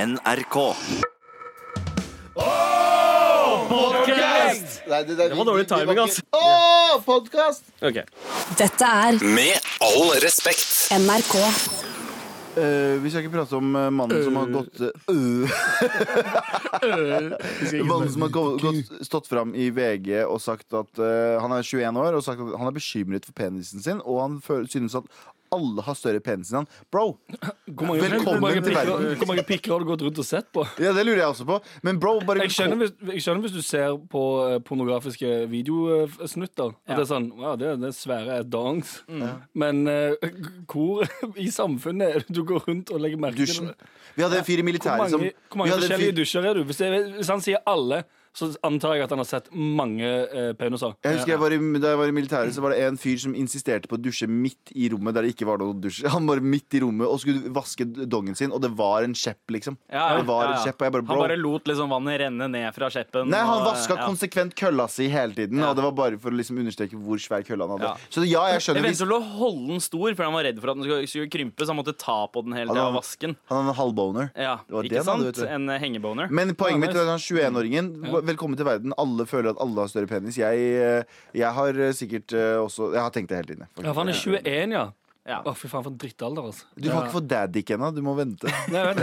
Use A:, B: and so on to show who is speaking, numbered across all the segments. A: NRK.
B: Nei, det, det,
C: var dårlig timing, ass.
B: Åh, podcast!
C: Ok.
D: Dette er
A: Med all respekt.
D: NRK.
B: Eh, vi skal ikke prate om eh, mannen som har gått eh, øh,
C: Øh.
B: Mannen som har gå- gått, stått fram i VG og sagt at eh, han er 21 år og sagt at han er bekymret for penisen sin, og han føler, synes at alle har større penis enn han. Bro!
C: Hvor mange,
B: Velkommen
C: hvor mange
B: til
C: pikker,
B: verden.
C: hvor mange pikker har du gått rundt og sett på?
B: Ja, det lurer jeg også på. Men bro, bare
C: Jeg skjønner hvis, jeg skjønner hvis du ser på eh, pornografiske videosnutter. At det er sånn wow, det, er- det er svære dongs. Men eh, hvor i samfunnet er det du går rundt og legger merke
B: Dusjen.
C: til det?
B: Vi hadde en fyr i
C: Hvor
B: militæret som
C: mange, hvor mange
B: vi hadde en
C: forskjellige
B: fyr-
C: dusjer er du? Hvis, jeg, hvis han sier alle, så antar jeg at han har sett mange eh, peniser.
B: Jeg husker jeg var i, Da jeg var i militæret, så var det en fyr som insisterte på å dusje midt i rommet der det ikke var noen dusj. Han var midt i rommet og skulle vaske dongen sin, og det var en kjepp, liksom.
E: Ja, ja,
B: det var
E: ja, ja.
B: en kjepp, og jeg bare,
E: Han
B: bro.
E: bare lot liksom vannet renne ned fra kjeppen.
B: Nei, han
E: og,
B: vaska
E: ja.
B: konsekvent kølla si hele tiden, og det var bare for å liksom understreke hvor svær kølla han hadde.
E: Ja.
B: Så ja, jeg
E: Jeg
B: skjønner hvis
E: ventet til å holde den stor, for han var redd for at den skulle, skulle krympe. Så han måtte ta på den hele
B: Han
E: tida
B: var-
E: og vaske den.
B: han hadde en halvboner.
E: Ja,
B: Det var det
E: ikke
B: han hadde,
E: sant?
B: vet du.
E: En eh, hengeboner.
B: Men poenget mitt er at han 21-åringen, velkommen til verden. Alle føler at alle har større penis. Jeg, eh, jeg har eh, sikkert eh, også Jeg har tenkt det hele tiden. jeg, faktisk.
C: Ja, for han er 21, ja.
E: Ja.
C: Å, fy faen, for en drittalder, altså.
B: Du har ikke fått daddick ennå. Du må vente.
C: Nei, vent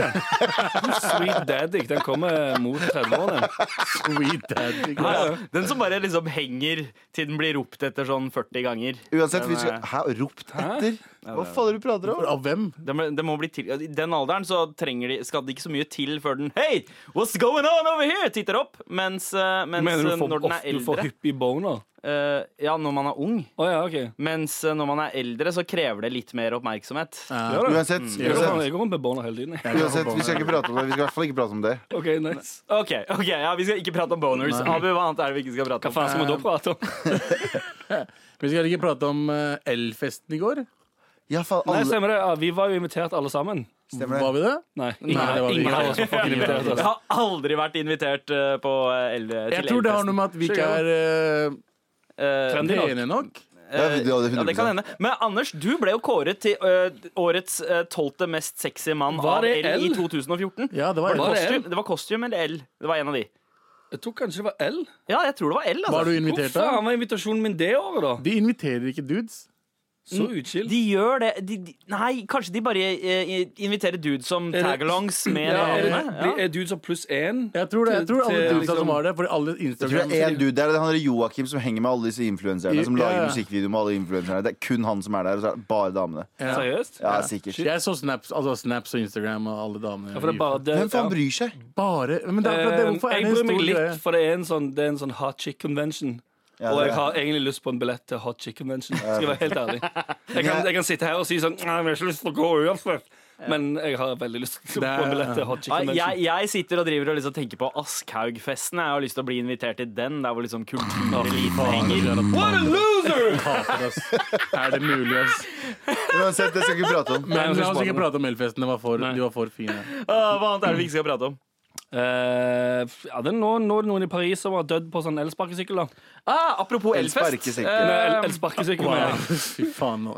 C: da. Sweet daddy, den kommer mot 30-årene. Sweet daddy.
E: Ja, ja. Den som bare liksom henger til den blir ropt etter sånn 40 ganger.
B: Uansett, vi skal
E: Men,
B: Hæ? Ropt etter? Hva faen er det du prater om?
F: Av hvem?
E: Den, må- den må bli til. I den alderen så trenger de, skal det ikke så mye til før den Hei, what's going on over here? titter opp. Mens, eh, mens
C: Mener du
E: eh,
C: får,
E: når den
C: ofte
E: er
C: du får
E: eldre
C: hyppig boner?
E: eh, Ja, når man er ung.
C: Å ja, OK.
E: Mens eh, når man er eldre, så krever det litt mer oppmerksomhet.
C: Ja, da.
B: Uansett,
C: Jeg går,
B: uansett,
C: jeg går rundt med boner hele tiden. jeg.
B: uansett vi skal ikke prate om det. Vi skal i hvert fall ikke prate om det.
C: OK, nice.
E: Ok, ok, ja, Vi skal ikke prate om boners. Abu, hva annet er det vi ikke skal prate
C: Hva
E: om?
C: faen skal vi da prate om?
F: Vi skal ikke prate om eh, elfesten i går.
B: Ja, faen,
C: Nei,
B: alle
C: stemmer det. Ja, vi var jo invitert alle sammen.
B: Stemmer det?
F: Var vi det?
C: Nei,
F: Nei, det
C: ingen,
F: var vi
C: ingen
F: ikke.
C: av oss var fucking invitert.
E: Jeg
C: Altså.
E: har aldri vært invitert eh, på eh, el til
F: Jeg tror det har
E: elfesten.
F: noe med at vi ikke er
E: Eh,
C: Trendy
F: eh,
C: nok.
F: pene nok.
B: Ja, det- ja, det er
E: ja, det
B: 100%.
E: kan hende. Men Anders, du ble jo kåret til eh, årets tolvte mest sexy mann
C: Var
E: av
C: det
E: L i
C: L?
E: 2014.
F: Ja, det var,
C: Var det
F: elf.
E: Kostyum, det var kostyum eller L. Det var en av de.
C: Jeg tror kanskje det var L.
E: Ja, jeg tror det var L. Altså.
F: Var du
C: Hvor
F: invitert, da?
C: faen var invitasjonen min det året, da?
F: De inviterer ikke dudes. Mm.
C: Så utskilt.
E: De gjør det de, de, Nei, kanskje de bare eh, inviterer dudes som
C: det-
E: tagalongs med
C: Ja, er, det,
E: damene.
C: blir- er dudes av pluss én?
F: Jeg tror, det, jeg tror alle
C: Til- til
F: dudesa
C: liksom-
F: som var der, fordi alle
B: Jeg tror
F: Instagram
B: det er én dude der. Det er han der Joakim som henger med alle disse influenserne. Som
F: Ja,
B: lager
F: ja.
B: musikkvideo med alle influenserne. Det er kun han som er der, og så er det bare damene.
F: Ja.
C: Seriøst?
B: Ja, sikkert.
F: Jeg så snaps, altså snaps og Instagram og alle damene.
C: Ja, for det er bare det,
B: Hvem faen
C: ja.
B: bryr seg?
F: Bare Men det er akkurat det,
C: Eh,
F: hvorfor er
C: jeg
F: det
C: bryr
F: en
C: meg
F: stor
C: litt,
F: greie?
C: for det er en sånn, det er en sånn hot chick convention.
B: Ja,
C: og
B: det er-
C: jeg har egentlig lyst på en billett til hot chick convention. Skal jeg være helt ærlig Jeg kan, jeg kan sitte her og si sånn Nei, jeg har ikke lyst til å gå uansett. Men jeg har veldig lyst til å
F: Det er-
C: få en billett til hot chick
E: Ja,
C: convention.
E: jeg, jeg sitter og driver og liksom tenker på Aschhaugfesten. Jeg har lyst til å bli invitert til den. Der hvor liksom kultureliten henger.
F: What a loser! Er det mulig, ass?
B: Uansett, det skal jeg ikke prate om.
F: Men
C: Nei,
F: la oss
C: jeg
F: ikke
C: skal
F: prate om elfesten. De var for, de var for fine.
E: Ah, hva annet er det vi ikke skal prate om?
C: Eh, ja, det er nå, nå er det noen i Paris som har dødd på sånn elsparkesykkel. da.
E: Ah, apropos
B: En
E: elfest.
B: sparkesykkel.
E: Eh,
C: Nei, el- elsparkesykkel, mener jeg. Eh,
F: Fy faen nå.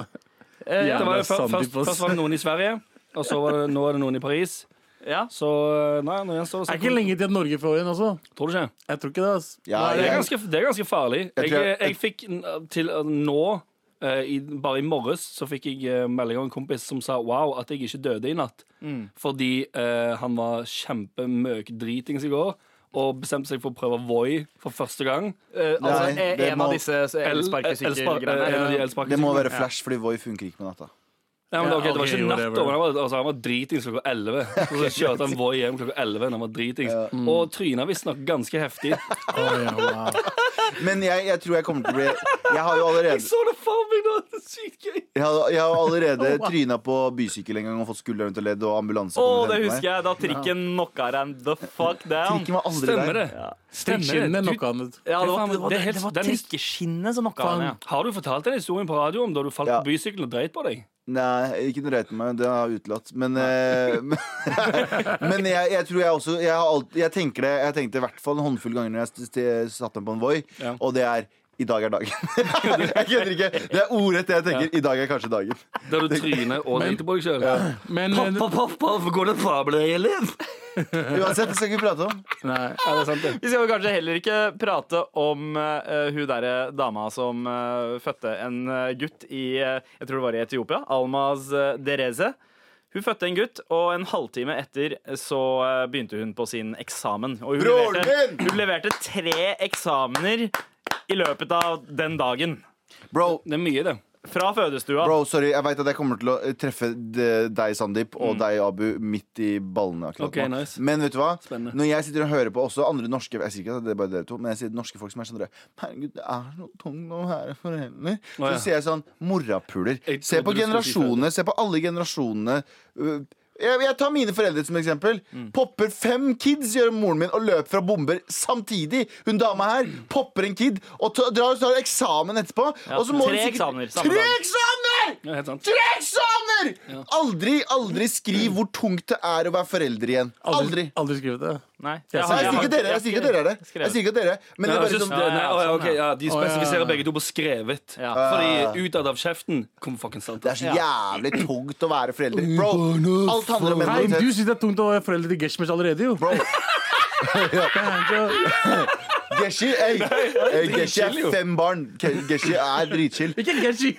C: Det var jo
F: Jævla
C: før- først,
F: Sandifoss.
C: først var det noen i Sverige, og så var det, nå er det noen i Paris.
E: ja.
C: Så eh, nei, nå gjenstår det å
F: Det
C: se
F: er ikke
C: hvor-
F: lenge til at Norge får en altså. også.
C: Tror du ikke?
F: Jeg tror ikke det. ass
B: Ja,
F: Nå er
C: Det
F: det
C: er ganske, det er ganske farlig.
B: Jeg
C: Jeg, eh,
B: tror
C: jeg,
B: jeg-
C: fikk n- til uh, nå eh, i, Bare i morges så fikk jeg eh, melding av en kompis som sa wow, at jeg ikke døde i natt. Fordi eh, han var kjempemøkdritings i går og bestemte seg for å prøve Voi for første gang.
E: Eh, altså,
B: Nei,
E: eh,
B: det
E: en
B: må-
E: av disse
C: elsparkesykkelgreiene.
E: elsparkesykkelgreiene. Ja.
B: Det må være flash, fordi Voi funker ikke på natta.
C: Nei, men det, var ok, det var
F: Ja,
C: ikke
F: ok,
C: natt
F: whatever.
C: over. Han var, altså, han var dritings klokka 11. Og så kjørte han Voi hjem klokka 11 når han var dritings. Og tryna visstnok ganske heftig.
F: Å, ja, wow.
B: Men jeg, jeg tror jeg kommer til å bli Jeg har jo allerede
C: Så det for meg nå! Det er sykt gøy!
B: Jeg har, jeg har allerede tryna på bysykkel en gang og fått skulderen til ledd, og ambulanse kom
E: Å,
B: og
E: det
B: hentet meg.
E: husker jeg! Da trikken knocka deg the fuck down.
B: Trikken var aldri
C: Stemmer
B: der.
C: det? Stemmer
F: Strikkskinnene
C: det? Du-
F: knocka han ut.
E: Ja, det var,
C: Faen,
E: det var,
C: det
E: det
C: er helt-
E: var
C: den-
E: trikkeskinnet som knocka
F: Faen.
E: han, ja.
C: Har du fortalt den historien på radio om da du falt
B: Ja.
C: på bysykkelen og dreit på deg?
B: Nei, ikke noe dreit med meg. Den har jeg utelatt. Men, eh, men jeg, jeg tror jeg også Jeg, har alt, jeg tenker det Jeg tenkte i hvert fall en håndfull ganger når jeg st- st- satte meg på en Voi,
C: Ja.
B: og det er i dag er dagen. jeg kødder ikke. Det er ordrett det jeg tenker. I dag er kanskje dagen.
C: Der du tryner og driter på deg sjøl?
F: Men eh,
C: Pappa, pappa, hvorfor går det fra deg, Elin?
B: Uansett, det skal vi ikke prate om.
F: Nei.
C: Ja, det er sant, det.
E: Vi skal vel kanskje heller ikke prate om eh, hun derre dama som eh, fødte en eh, gutt i eh, Jeg tror det var i Etiopia. Almaz eh, Dereze. Hun fødte en gutt, og en halvtime etter så eh, begynte hun på sin eksamen. Og hun
B: Broren
E: leverte,
B: min!
E: hun leverte tre eksamener i løpet av den dagen.
B: Bro,
C: Det er mye, det.
E: Fra fødestua.
B: bro sorry. Jeg veit at jeg kommer til å eh, treffe de- deg, Sandeep, og deg, Abu, midt i ballene akkurat
C: Mm. Ok,
B: nå.
C: nice.
B: Men vet du hva?
C: Spennende.
B: Når jeg sitter og hører på også andre norske Jeg sier ikke at det er bare dere to, men jeg sier norske folk som er sånn dere, Herregud, det er så tungt å være forelder. Så
C: Å, ja.
B: sier jeg sånn Morapuler.
C: Jeg
B: Se på
C: trodde du skulle si
B: generasjonene. Se på alle generasjonene. Uh, Jeg, jeg tar mine foreldre som eksempel.
C: Mm.
B: Popper fem kids, gjør moren min, og løper fra bomber samtidig. Hun dama her popper en kid og ta- drar og tar eksamen etterpå.
E: Ja,
B: og så må
E: tre
B: hun sikkert-
E: eksamener samme
B: Tre
E: dag.
B: eksamener!
C: Ja, helt sant.
B: Tre eksamener! Aldri, aldri skriv hvor tungt det er å være forelder igjen. Aldri.
F: Aldri, aldri skrevet det.
E: Nei,
F: Jeg
E: har-
B: Nei, jeg sier ikke
E: har-
B: dere jeg sier ikke dere er det. Jeg sier ikke dere Men det
C: Ja,
B: er
C: jeg
B: bare
C: synes-
B: sånn
C: det- nei, å, ja,
E: sånn,
C: ok, ja, de
F: Å, ja.
C: spesifiserer begge to på skrevet.
E: Ja.
C: Fordi utad av kjeften kom fucking sant.
B: Det er så jævlig tungt å være forelder. Bro, alt handler om
F: Nei, du
B: mentalitet.
F: syns det er tungt å være forelder til Geshmesh allerede, jo.
B: Bro,
F: Ikke
B: Geshi ey, ey, Geshi er fem barn. Ke- Geshi er dritchill.
F: Geshi.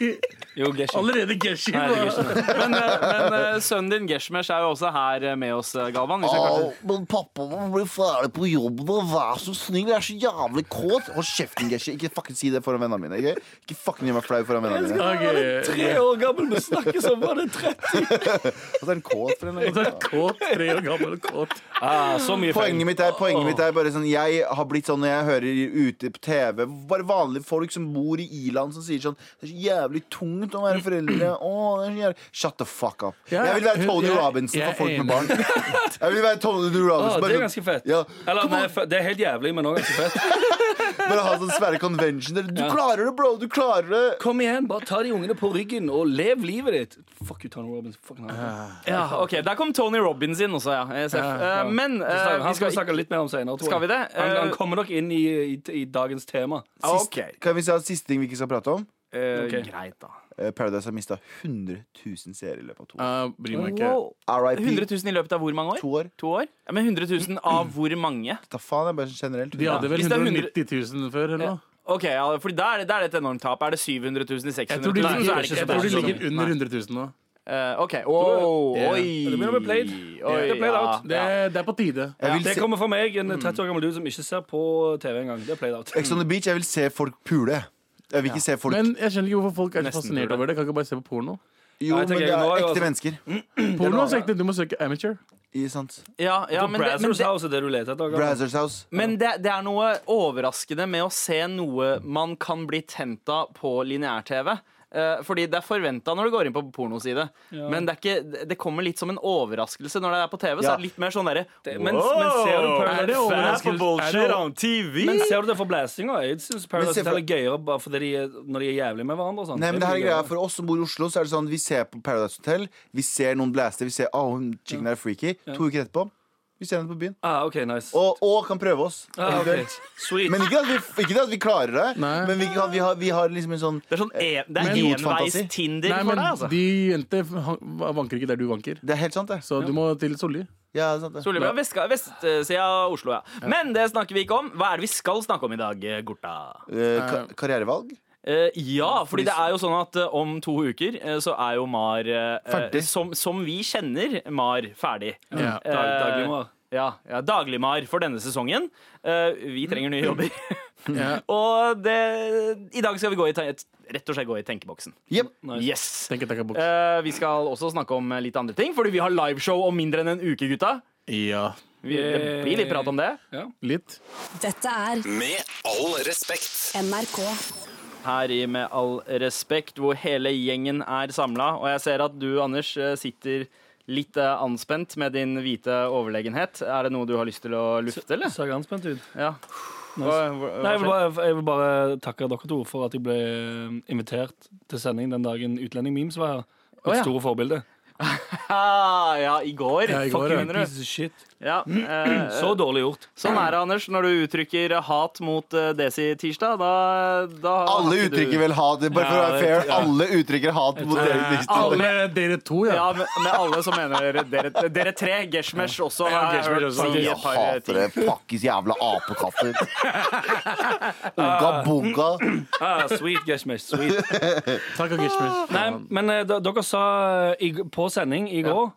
C: Jo, Geshe.
F: Allerede Geshi.
C: Nei, det er Geshe.
E: Men, eh, men eh, sønnen din Geshmesh er jo også her eh, med oss, eh, Galvan. Hvis jeg kanskje...
B: Å, men pappa må bli ferdig på jobben, og vær så snill. Jeg er så jævlig kåt. Hold kjeften, Geshi. Ikke fucking si det foran vennene mine. ok? Ikke fucking gjør meg flau foran vennene mine.
F: Ok.
C: Tre år gammel, vi snakker som var det 30.
B: Og så er han kåt for en eller
F: Og så er han kåt, tre år gammel og kåt.
C: Ah, så mye feil.
B: Poenget mitt er, poenget mitt er bare sånn Jeg har blitt sånn når jeg hører ute på TV Bare vanlige folk som bor i Iland Som sier sånn Det er så jævlig tungt å være foreldre Åh, det er så jævlig Shut the fuck up
F: Ja,
B: Jeg vil være
F: hun-
B: Tony
F: jeg-
B: Robinson
F: jeg er
B: for folk
F: enig.
B: med barn Jeg vil være Tony
C: Ah,
B: Robinson bare
C: det er
B: sånn-
C: ganske fett.
B: Ja,
C: Eller, nei, fe- det er helt jævlig, men også ganske fett.
B: bare ha sånne svære conventioner Du klarer det, bro, du klarer det
C: Kom igjen, bare ta de ungene på ryggen og lev livet ditt. Fuck you, Tony Robbins. Fucking han.
B: Ah.
E: Ja, ok, Der kom Tony Robbins inn også, ja. Jeg ser.
F: Ja,
E: Eh, Men
C: Han
E: eh, vi
C: skal vi
E: skal
C: snakke litt mer om senere, tror jeg.
E: Skal vi det?
C: Han, han
E: Eh,
C: kommer nok inn i, i, i dagens tema.
E: Ok,
B: Kan vi si at siste ting vi ikke skal prate om?
E: eh,
C: Ok.
E: Greit, da.
B: Eh, Paradise har mistet 100 000 serier i løpet av to år
F: Uh, bryr meg ikke.
E: Wow. 100
B: R.I.P.
E: 000 i løpet av hvor mange år?
B: Eh, To år
E: To år? Ja, men 100 000 av hvor mange?
B: Da faen, det er bare sånn generelt
F: De hadde vel
E: Hvis det er
F: 190 000 før, eller noe?
E: Ok, ja, for da er, det- da er det et enormt tap. Er det 700 000 i 600
F: Jeg tror de
E: 000? så er det
F: ligger,
E: ikke
F: jeg
E: så
F: tror de
E: bra.
F: ligger under 100 000 nå.
E: Eh, ok, wow,
F: Ja.
E: oi
C: Det begynner å bli played.
E: Oi,
C: Det er played
E: ja.
C: out.
F: Det, det er på tide.
B: Jeg vil
C: Det
B: se-
C: kommer fra meg, en
E: Mm.
C: 30 år gammel dude som ikke ser på TV engang. Det er played out.
B: Ex on the beach, jeg vil se folk pule. Jeg vil ikke se folk
F: Men jeg skjønner ikke hvorfor folk er så
E: Nesten
F: fascinert
E: burde.
F: over det. Kan ikke bare se på porno?
B: Jo, men
C: Nei, jeg tenker
B: det
C: nå
B: er
C: er jo
B: ekte
C: altså-
B: mennesker.
F: Porno er så ekte, du må søke amateur.
B: I, sant?
E: Ja, ja, men, det, men,
C: Brazzers
E: det,
C: House er det du leter etter. Gabriel.
B: Brazzers House.
E: men det, det er noe overraskende med å se noe man kan bli tent av på lineær-TV. Eh, fordi det er forventa når du går inn på pornoside. Men det, er ikke, det kommer litt som en overraskelse når det er på TV. Så
B: Ja.
E: er det litt mer sånn derre
C: Det- men- men ser du på-
E: Er det overraskelse?
F: Er det-
E: TV?
C: Men ser du det for blæstinga? Jeg syns Paradise
B: se for-
C: Hotel er gøyere bare fordi de er, når de er jævlige med hverandre. og sånn. sånt.
B: Nei, men det
C: blir
B: her er greia
C: gøyere.
B: For oss som bor i Oslo, så er det sånn vi ser på Paradise Hotel. Vi ser noen blaste. Vi ser oh, hun chicken er freaky. To uker etterpå, vi ser henne på byen.
C: Ah, ok, nice.
B: Og, og kan prøve oss.
C: ah, ok.
B: eventuelt.
C: Sweet.
B: Men ikke at, vi, ikke at vi klarer det.
F: Nei.
B: Men vi, kan, vi, har, vi har liksom en sånn
E: Det er sånn en, det er
B: Idiotfantasi.
E: enveis-Tinder
F: Nei,
E: for
F: men
E: deg, altså.
F: de jenter han- vanker ikke der du vanker.
B: Det er helt sant, det.
F: Så du må til Solli.
B: Ja, det er sant, det.
E: Solli fra vestsida av Oslo, ja. Men det snakker vi ikke om. Hva er det vi skal snakke om i dag, Gorta?
B: Eh, ka karrierevalg.
E: Eh, ja, fordi det er jo sånn at eh, om to uker eh, så er jo Mar eh,
B: Ferdig.
E: Som, som vi kjenner Mar ferdig.
B: Mm.
F: Ja.
E: Eh,
C: Dag- dagligmar.
E: Ja, ja Dagligmar for denne sesongen. Eh, vi trenger nye jobber.
F: Ja.
E: og det, i dag skal vi gå i, te- rett og slett gå i tenkeboksen.
B: Jep.
C: Nice.
E: Yes!
F: Tenk at jeg kan bokse.
E: Eh, vi skal også snakke om eh, litt andre ting, fordi vi har liveshow om mindre enn en uke, gutta.
B: Eh.
F: Ja.
E: Vi, det blir litt prat om det.
F: Litt.
D: Dette er
A: Med all respekt.
D: NRK.
E: her i Med all respekt, hvor hele gjengen er samla. Og jeg ser at du, Anders, eh, sitter litt eh, anspent med din hvite overlegenhet. Er det noe du har lyst til å lufte, eller?
C: Ser ganske spent ut.
E: Ja. Hva- hva-
C: Nei, jeg, vil
E: hva skjer?
C: bare, jeg vil bare takke dere to eh, for at jeg ble invitert til sending den dagen Utlending Memes var her. Et
E: Å, ja.
C: store forbilde.
E: Ah, ja, i går.
F: Ja, i går,
E: Fucking
F: ja.
E: mener du?
C: Piece of shit.
E: Ja, eh,
C: Så dårlig gjort.
E: sånn er det, Anders, når du uttrykker hat mot eh, Desi tirsdag. Da, da har
B: Alle
E: ikke du-
B: uttrykker vel hat, bare for å være
C: Ja, det-
B: fair. Alle uttrykker hat mot Erik Nixon.
F: Alle dere to, ja.
E: Ja, med, med alle som mener dere, dere tre. Geshmesh også.
F: Ja,
E: har jeg
F: Geshmesh
E: hørt
F: også.
E: si
F: Jeg
E: et
B: Jeg
E: par
C: eh,
B: hater
E: ting.
B: det. Pakkis jævla apekatter. Unga bunga.
C: Ah, sweet, Geshmesh. Sweet.
F: Takk og
B: Ah.
F: Gishmish.
C: Nei, men eh, da, dere sa eh, i, g- på sending i går,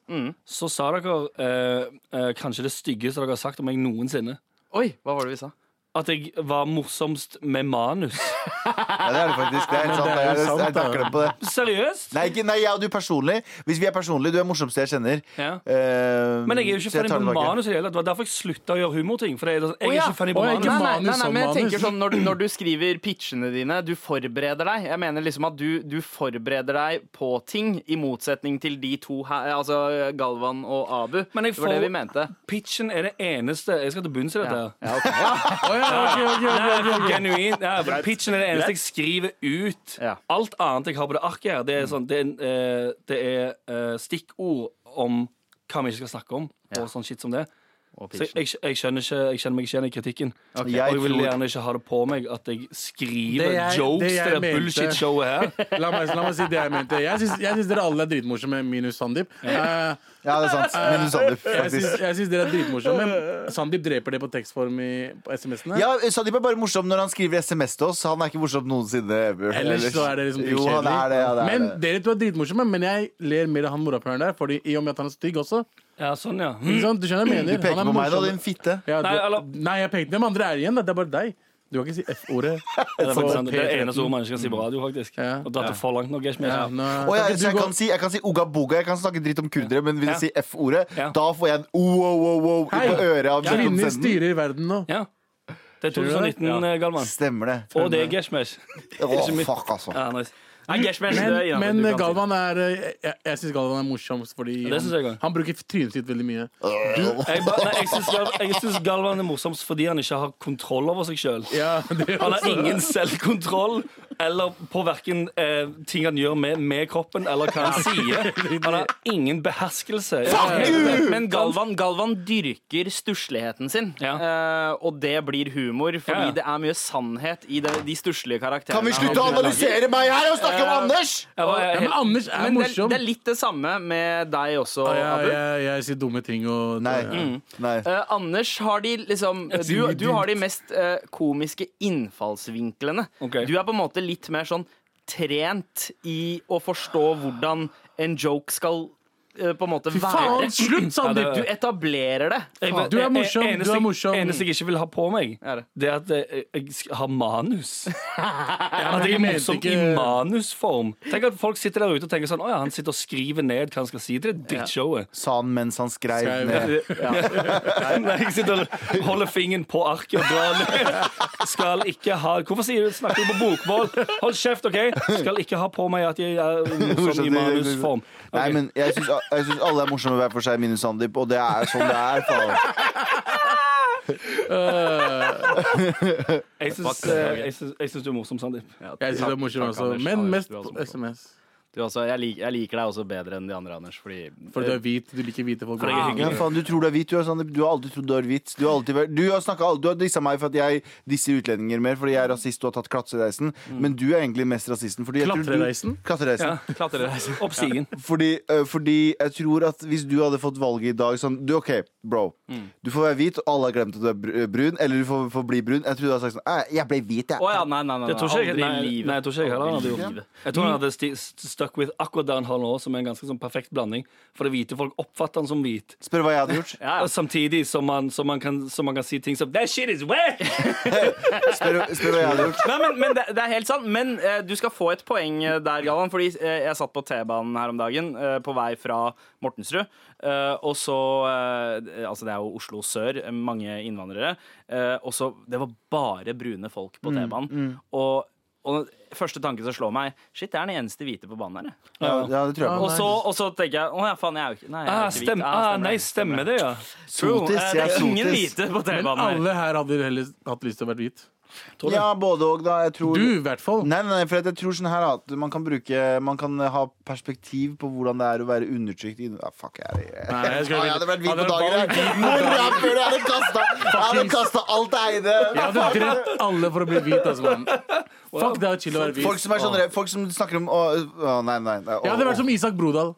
C: så sa dere eh, eh, kanskje det styggeste dere har sagt om meg noensinne.
E: Oi, hva var det vi sa?
C: At jeg var morsomst med manus.
B: Ja, det er det faktisk. Det er helt sant. Jeg, jeg, jeg takker dem på det.
C: Seriøst?
B: Nei, ikke, nei, jeg og du personlig. Hvis vi er personlige, du er morsomste jeg kjenner.
C: Ja.
B: Eh,
C: Men jeg er jo
B: så
C: ikke funny
B: tar
C: på
B: det tilbake.
C: manus. i det hele tatt. Det var derfor jeg slutta å gjøre humorting. For jeg, jeg er
E: Å ja.
C: ikke funny på
F: Å, ikke
C: manus.
E: Nei, nei,
F: manus
E: nei, nei,
F: som
E: men jeg
F: manus.
E: tenker sånn når, du- når du skriver pitchene dine, du forbereder deg. Jeg mener liksom at du, du forbereder deg på ting, i motsetning til de to her, altså Galvan og Abu.
C: Men jeg
E: Det var det
C: får-
E: vi mente.
C: Pitchen er det eneste Jeg skal til bunns i dette. her
E: Ja, ok.
F: Å, ja, ok, ok, ok,
C: Nei,
F: ok,
C: for
F: ok.
C: genuint. Ja, for pitchen er det eneste jeg skriver ut.
E: Ja.
C: Alt annet jeg har på det arket her, det er, sånn, det er, eh, det er eh, stikkord om hva vi ikke skal snakke om, og sånn shit som det.
E: Og
C: Så jeg,
E: pitchen.
C: jeg, jeg, skjønner ikke, jeg kjenner meg ikke igjen i kritikken. Og
B: Jeg
C: jeg vil
B: tror-
C: gjerne ikke ha det på meg at jeg skriver
F: Det jeg-
C: jokes
F: det jeg
C: til det
F: mente.
C: bullshit-showet her.
F: La meg, la meg si det jeg mente. Jeg syns, jeg syns dere alle er dritmorsomme, minus Sandeep. Eh,
B: Ja, det er sant. Men du sa det
F: jeg
B: faktisk.
F: syns, jeg syns dere er dritmorsomme, men Sandeep dreper det på tekstform i, på SMS-ene.
B: Ja, Sandeep er bare morsom når han skriver SMS til oss. Han er ikke morsom noensinne. ever.
F: Ellers så er det liksom
B: jo, han
F: dritkjedelig.
B: er det, ja, det er
F: men
B: det.
F: dere to er dritmorsomme, men jeg ler mer av han morapuleren der, fordi, i og med at han er stygg også.
C: Ja, sånn, ja.
F: Ikke sant? Du skjønner hva jeg
B: Mm. Du
F: mener?
B: peker
F: Han er
B: på meg da,
F: morsom.
B: din fitte.
F: Ja,
C: Nei,
F: du,
C: eller-
F: nei, jeg pekte dem andre er igjen. da. Det er bare deg. Du kan ikke si F-ordet.
C: Det er, faktisk sant. det er det
F: P13.
C: eneste ordet man ikke skal si på radio, faktisk.
F: Ja.
C: Og dratt det for langt nok. Jeg er ikke med.
F: Ja, nå,
B: Å, ja,
F: kan ikke
B: så
F: du
B: jeg,
F: gå-
B: kan si, jeg kan si uga boga, jeg kan snakke dritt om kurdere, men hvis
C: Ja.
B: jeg sier F-ordet,
C: Ja.
B: da får jeg en wow-wow-wow
F: Hei,
B: på øret av
F: Kvinner
B: produsenten.
F: styrer verden nå.
C: Ja. Det er 2019, eh, Galvan.
B: Stemmer det.
C: Og det er Geshmesh.
B: Å,
C: ikke mitt.
B: fuck, altså.
C: Ja, nice.
E: Nei, Geshmesh,
F: Men,
E: det er innenfor,
F: men
E: du kan si det.
F: Galvan er eh, Jeg, jeg syns Galvan er morsomst, fordi
C: det synes jeg
F: han,
C: også.
F: han bruker trynet sitt veldig mye.
C: Jeg, ba- nei, jeg, syns Gal- jeg syns Galvan er morsomst fordi han ikke har kontroll over seg sjøl.
F: Ja, det
C: Han har ingen selvkontroll eller på verken eh, ting han gjør med, med kroppen eller hva han sier. Han har ingen beherskelse.
E: Men, men Galvan, Galvan dyrker stussligheten sin, eh, og det blir humor. Fordi
C: Ja, ja.
E: det er mye sannhet i det, de stusslige karakterene.
B: Kan vi
E: han-
B: slutte å analysere meg her og snakke om
E: Eh,
B: Anders?!
C: Jeg var,
F: Ja, men
C: jeg,
F: Anders er
E: Men det, er-
F: morsom.
E: det er litt det samme med deg også,
F: Ja,
E: Abu.
F: jeg, jeg, sier dumme ting og
B: Nei.
C: Mm.
B: Nei.
E: Eh, Anders har de liksom
F: Jeg sier
E: Du,
F: mye
E: du har de mest eh, komiske innfallsvinklene.
C: Ok.
E: Du er på en måte litt mer sånn trent i å forstå hvordan en joke skal eh, på en måte
F: Fy faen,
E: være.
F: slutt, Sandeep!
E: Du etablerer det.
C: jeg,
F: Du er morsom,
C: eneste
F: du er
C: jeg-
F: morsom.
C: Eneste jeg ikke vil ha på meg,
E: Ja, det.
C: det er at eh, jeg sk- har manus. At jeg
F: jeg
C: er
F: mente
C: morsom i
F: ikke-
C: manusform. Tenk at folk sitter der ute og tenker sånn Å ja, han sitter og skriver ned hva han skal si til det drittshowet.
B: Sa han mens han skrev
F: Skrev.
B: ned.
C: Nei, jeg sitter og holder fingeren på arket og drar ned. Skal ikke ha Hvorfor sier du snakker du på bokmål? Hold kjeft, OK? Skal ikke ha på meg at jeg er morsom i manusform. Ok.
B: Nei, men jeg syns jeg syns alle er morsomme hver for seg, minus Sandeep, og det er sånn det er. Faen.
C: Jeg syns, eh, jeg syns- jeg syns du er morsom, Sandeep.
F: Jeg syns du er morsom
E: Takk,
F: også,
E: Anders.
F: men
E: Anders,
F: mest
E: du er altså. også
F: på
E: morsom.
F: SMS.
E: Du også, jeg, lik, jeg liker deg også bedre enn de andre, Anders. Fordi, eh,
F: For du er hvit, du liker hvite folk.
C: For jeg er
B: Ja, faen, du tror du er hvit, du, er Sandeep. Du har alltid trodd du er hvit. Du har, alltid vært, du har, snakket, al- du har dissa meg for at jeg disser utlendinger mer fordi jeg er rasist og har tatt klatrereisen,
E: Mm.
B: men du er egentlig mest rasisten. Fordi jeg tror du-
F: Klatrereisen?
B: Klatrereisen.
C: Opp stigen.
B: Fordi, øh, fordi jeg tror at hvis du hadde fått valget i dag sånn du, OK, bro.
E: Mm.
B: Du får være hvit, og alle har glemt at du er br- brun. Eller du får, får bli brun. Jeg tror du hadde sagt sånn «Eh, Jeg ble hvit, jeg.
E: Å ja, nei, nei, nei.
C: Det tror ikke jeg,
E: aldri i
C: nei,
E: livet.
C: nei, jeg tror ikke jeg heller han hadde
E: Aldri i
C: gjort det.
E: livet.
C: Jeg tror han hadde sti- st stuck with akkurat det han har nå, som er en ganske sånn perfekt blanding. For det hvite folk oppfatter han som hvit.
B: Spør hva jeg hadde gjort.
E: Ja, ja.
C: Og Samtidig som man, som, man kan, som man kan si ting som That shit is wet!
B: Spør, spør hva jeg hadde gjort.
E: Nei, men, men det, det er helt sant. Men eh, du skal få et poeng eh, der, Galvan. Fordi eh, jeg satt på T-banen her om dagen eh, på vei fra Mortensrud. eh, og så eh, Altså, det er jo Oslo sør, eh, mange innvandrere. eh, og så Det var bare brune folk på T-banen. Og, og den første tanken som slår meg, shit, det er den eneste hvite på banen her. jeg.
B: Ja, ja, det tror jeg på.
E: Og så, og så tenker jeg å ja, faen, jeg er jo ikke Nei, jeg er
C: Ah,
E: ikke hvit.
C: stem, ah, nei, stemmer det, ja.
E: True.
B: Sotis,
E: Eh,
B: jeg
E: det
B: er
E: er ingen
B: sotis.
E: hvite på
F: Men
E: T-banen her.
F: alle her hadde heller hatt lyst til å være hvit.
C: Tror du?
B: Ja, både og, da. Jeg tror
F: Du, i hvert fall.
B: Nei, nei, nei, for at jeg tror sånn her at man kan bruke Man kan ha perspektiv på hvordan det er å være undertrykt i ah, Fuck, jeg, jeg,
F: Nei, jeg skulle-
B: Ah, jeg hadde vært hvit på
F: Hadde det
B: dagen.
F: vært
B: jeg. Hvor rapper du? Jeg hadde kastet- Jeg hadde kasta alt jeg
F: Jeg
B: eide.
F: hadde drept alle for å bli hvit. Altså, mann. Fuck, det er chill å være hvit.
B: Folk som, er sånn, folk som snakker om å, å, Nei, nei. nei å,
F: Jeg hadde vært som Isak Brodal.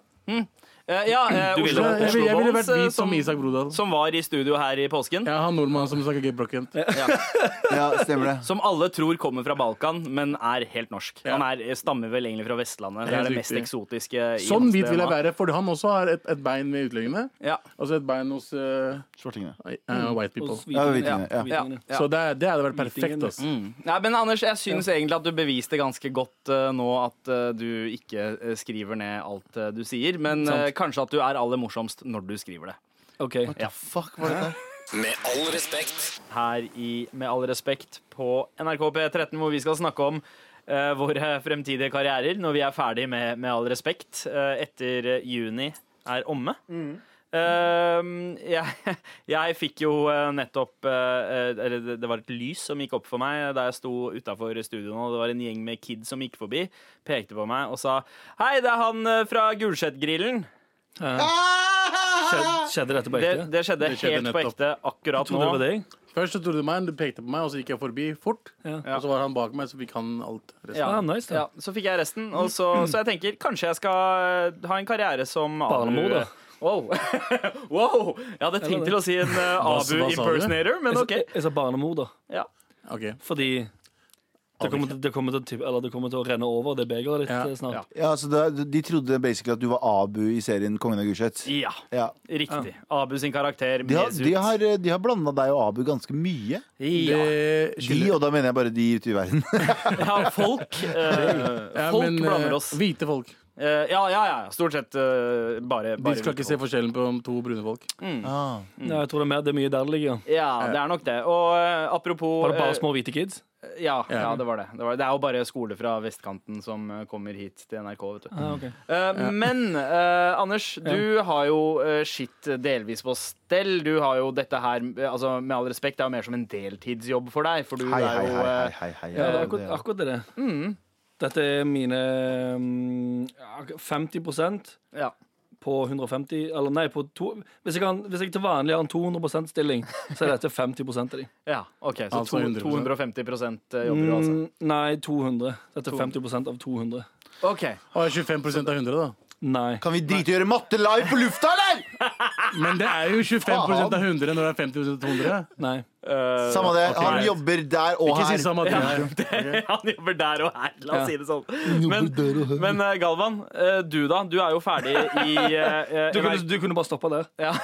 E: Eh, ja, eh,
C: Du ville-
E: Oslo,
F: Jeg, jeg, ville- jeg ville
E: Bolls,
F: vært
E: eh,
F: hvit som
E: som,
F: Isak Brodal.
E: som var i studio her i påsken.
F: Jeg har han nordmann som snakker gebrokkent.
B: å. Ja, stemmer det.
E: Som alle tror kommer fra Balkan, men er helt norsk.
F: Ja.
E: Han er, stammer vel egentlig fra Vestlandet. Det
F: Helt
E: er det mest
F: riktig.
E: eksotiske. i
F: Sånn
E: hans
F: hvit vil jeg
E: DNA.
F: være, for han også har et, et bein med utlendingene.
E: Ja,
F: Altså et bein hos eh,
B: Svartingene.
F: eh, white people.
C: Hos
B: Ja, hvitingene, ja.
E: ja,
C: hvitingene.
E: Mm. ja.
F: Så det, det hadde vært perfekt.
C: Hvitingen.
F: Ass.
E: Mm. Nei, men Anders, jeg syns egentlig at du beviste ganske godt eh, nå at eh, du ikke eh, skriver ned alt eh, du sier, men
C: Sant.
E: eh, kanskje at du er aller morsomst når du skriver det.
C: OK.
E: Ja.
B: Fuck, var det der?
A: Med all respekt.
E: Her i Med all respekt på NRK P13, hvor vi skal snakke om eh, våre fremtidige karrierer når vi er ferdig med Med all respekt eh, etter eh, juni er omme. Eh, jeg, jeg fikk jo eh, nettopp eh, eh, Eller det- det var et lys som gikk opp for meg da jeg sto utafor studioet, og det var en gjeng med kids som gikk forbi, pekte på meg og sa 'Hei, det er han eh, fra Gulset-grillen'.
C: Skjed, skjedde dette på ekte?
E: Det, det skjedde
F: Det skjedde
E: helt på
F: nettopp.
E: ekte akkurat
C: Trodde det var
E: nå.
C: deg?
F: Først så trodde du meg, du pekte på meg, og så gikk jeg forbi fort.
C: Ja.
F: Og så var han bak meg, så fikk han alt. resten.
C: Ah, nice, da.
E: ja, så fikk jeg resten, og så, så jeg tenker kanskje jeg skal eh, ha en karriere som Abu-
C: Barnemor, da.
E: Wow. wow! Jeg hadde tenkt
C: det?
E: til å si en eh,
F: sa du?
E: Abu-impersonator, men
C: Jeg,
E: OK.
C: sa- jeg sa barnemor, da.
E: Ja.
F: Ok.
C: Fordi det kommer, til, det, kommer til, å tippe- eller det kommer til å renne over det begeret ditt
F: Ja.
C: eh, snart.
E: Ja.
B: Ja, så det, De trodde basically at du var Abu i serien Kongen av Gulset.
E: ja.
B: Ja.
E: Riktig. Abu sin karakter.
B: De har,
E: mes ut.
B: de har, de har blanda deg og Abu ganske mye.
E: Ja.
F: Det
B: De,
F: skylder-
B: og da mener jeg bare de ute i verden.
E: Ja, folk eh,
F: Ja,
E: Folk
F: men, eh,
E: blander oss.
F: Hvite folk. De
E: Eh, ja, ja, ja. Stort sett eh, bare, bare hvite
F: skal ikke
E: folk.
F: se forskjellen på om to brune folk.
B: Ah.
E: Mm.
C: Ja, jeg tror det er, mer, det er mye der det ligger. ja.
E: Ja, det er nok det. Og eh, apropos
C: Var det bare
E: eh,
C: små hvite kids?
E: Ja, ja det, var det. det var det. Det er jo bare skole fra vestkanten som eh, kommer hit til NRK, vet du.
C: Ah, ok.
E: Eh, Men eh, Anders, du har jo eh, skitt delvis på stell. Du har jo dette her eh, altså, Med all respekt, det er jo mer som en deltidsjobb for deg. For du
B: Hei,
E: er
B: hei,
E: jo
B: hei, hei,
E: eh,
B: hei, hei.
C: Ja, det er
B: det-
C: akkurat, akkurat det. det.
E: Mm.
C: Dette er mine mm, ak- 50
E: ja.
C: på 150 Eller nei, på to, hvis, jeg kan, hvis jeg til vanlig har en 200 stilling, så er dette 50 av de.
E: ja, OK. Så
F: Altså
E: to-
F: 100%.
E: 250 jobber du, altså.
C: Mm, nei, 200. Dette er 50 av 200.
E: OK.
F: Og 25 av 100, da.
C: Nei.
B: Kan vi drite i å gjøre matte live på lufta, eller?!
F: Men det er jo 25 av 100 når det er 50 av 200.
C: nei.
E: Eh,
B: Samme det. Han
E: greit.
B: jobber der og
F: Ikke si
B: her.
F: samme at du er.
E: Han jobber der og her, la oss
C: Ja.
E: si det sånn. Men, men eh, Galvan, eh, du da? Du er jo ferdig i eh,
C: Du kunne,
E: NRK,
C: du kunne bare stoppa der.
E: ja,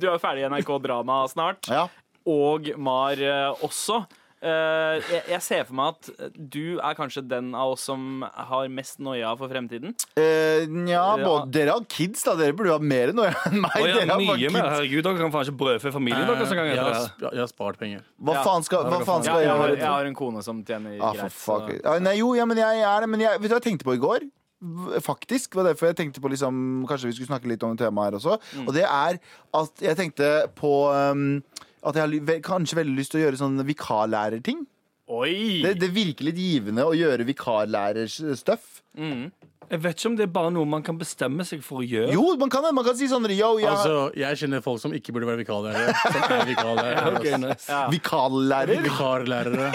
E: Du er jo ferdig i NRK Drama snart,
B: Ja.
E: og Mar eh, også. Eh, jeg, jeg ser for meg at eh, du er kanskje den av oss som har mest noia for fremtiden.
B: Eh, nja,
E: Ja.
B: både, dere har kids, da. Dere burde ha mer enn meg.
C: Å, ja,
B: Dere har bare
C: mye mer.
B: kids.
C: Herregud, dere kan faen ikke brødfø familien deres engang.
F: Jeg
C: etter
F: har
C: det her.
F: sp- jeg har spart penger.
B: Hva
E: Ja.
B: faen skal, hva faen
E: Ja,
B: skal
E: jeg,
B: jeg
E: har,
B: gjøre?
E: jeg har en kone som tjener
B: Ah, for
E: greit.
B: fuck.
E: så-
B: Ah, nei, jo, ja, men jeg er det. Men jeg, vet du hva jeg tenkte på i går? V- Faktisk. Det var derfor jeg tenkte på liksom, Kanskje vi skulle snakke litt om et tema her også.
E: Mm.
B: Og det er at jeg tenkte på um, at jeg har ly- ve- kanskje veldig lyst til å gjøre sånne vikarlærerting.
E: Oi!
B: Det, det virker litt givende å gjøre eh, vikarlærerstuff.
C: Jeg vet ikke om det er bare noe man kan bestemme seg for å gjøre.
B: Jo, man kan det. Man kan si sånn yo, jeg
F: Altså, jeg kjenner folk som ikke burde være vikarlærere. Som er vikarlærere.
C: Ok,
F: altså.
C: nice.
B: er vikarlærer.
F: Vikarlærere.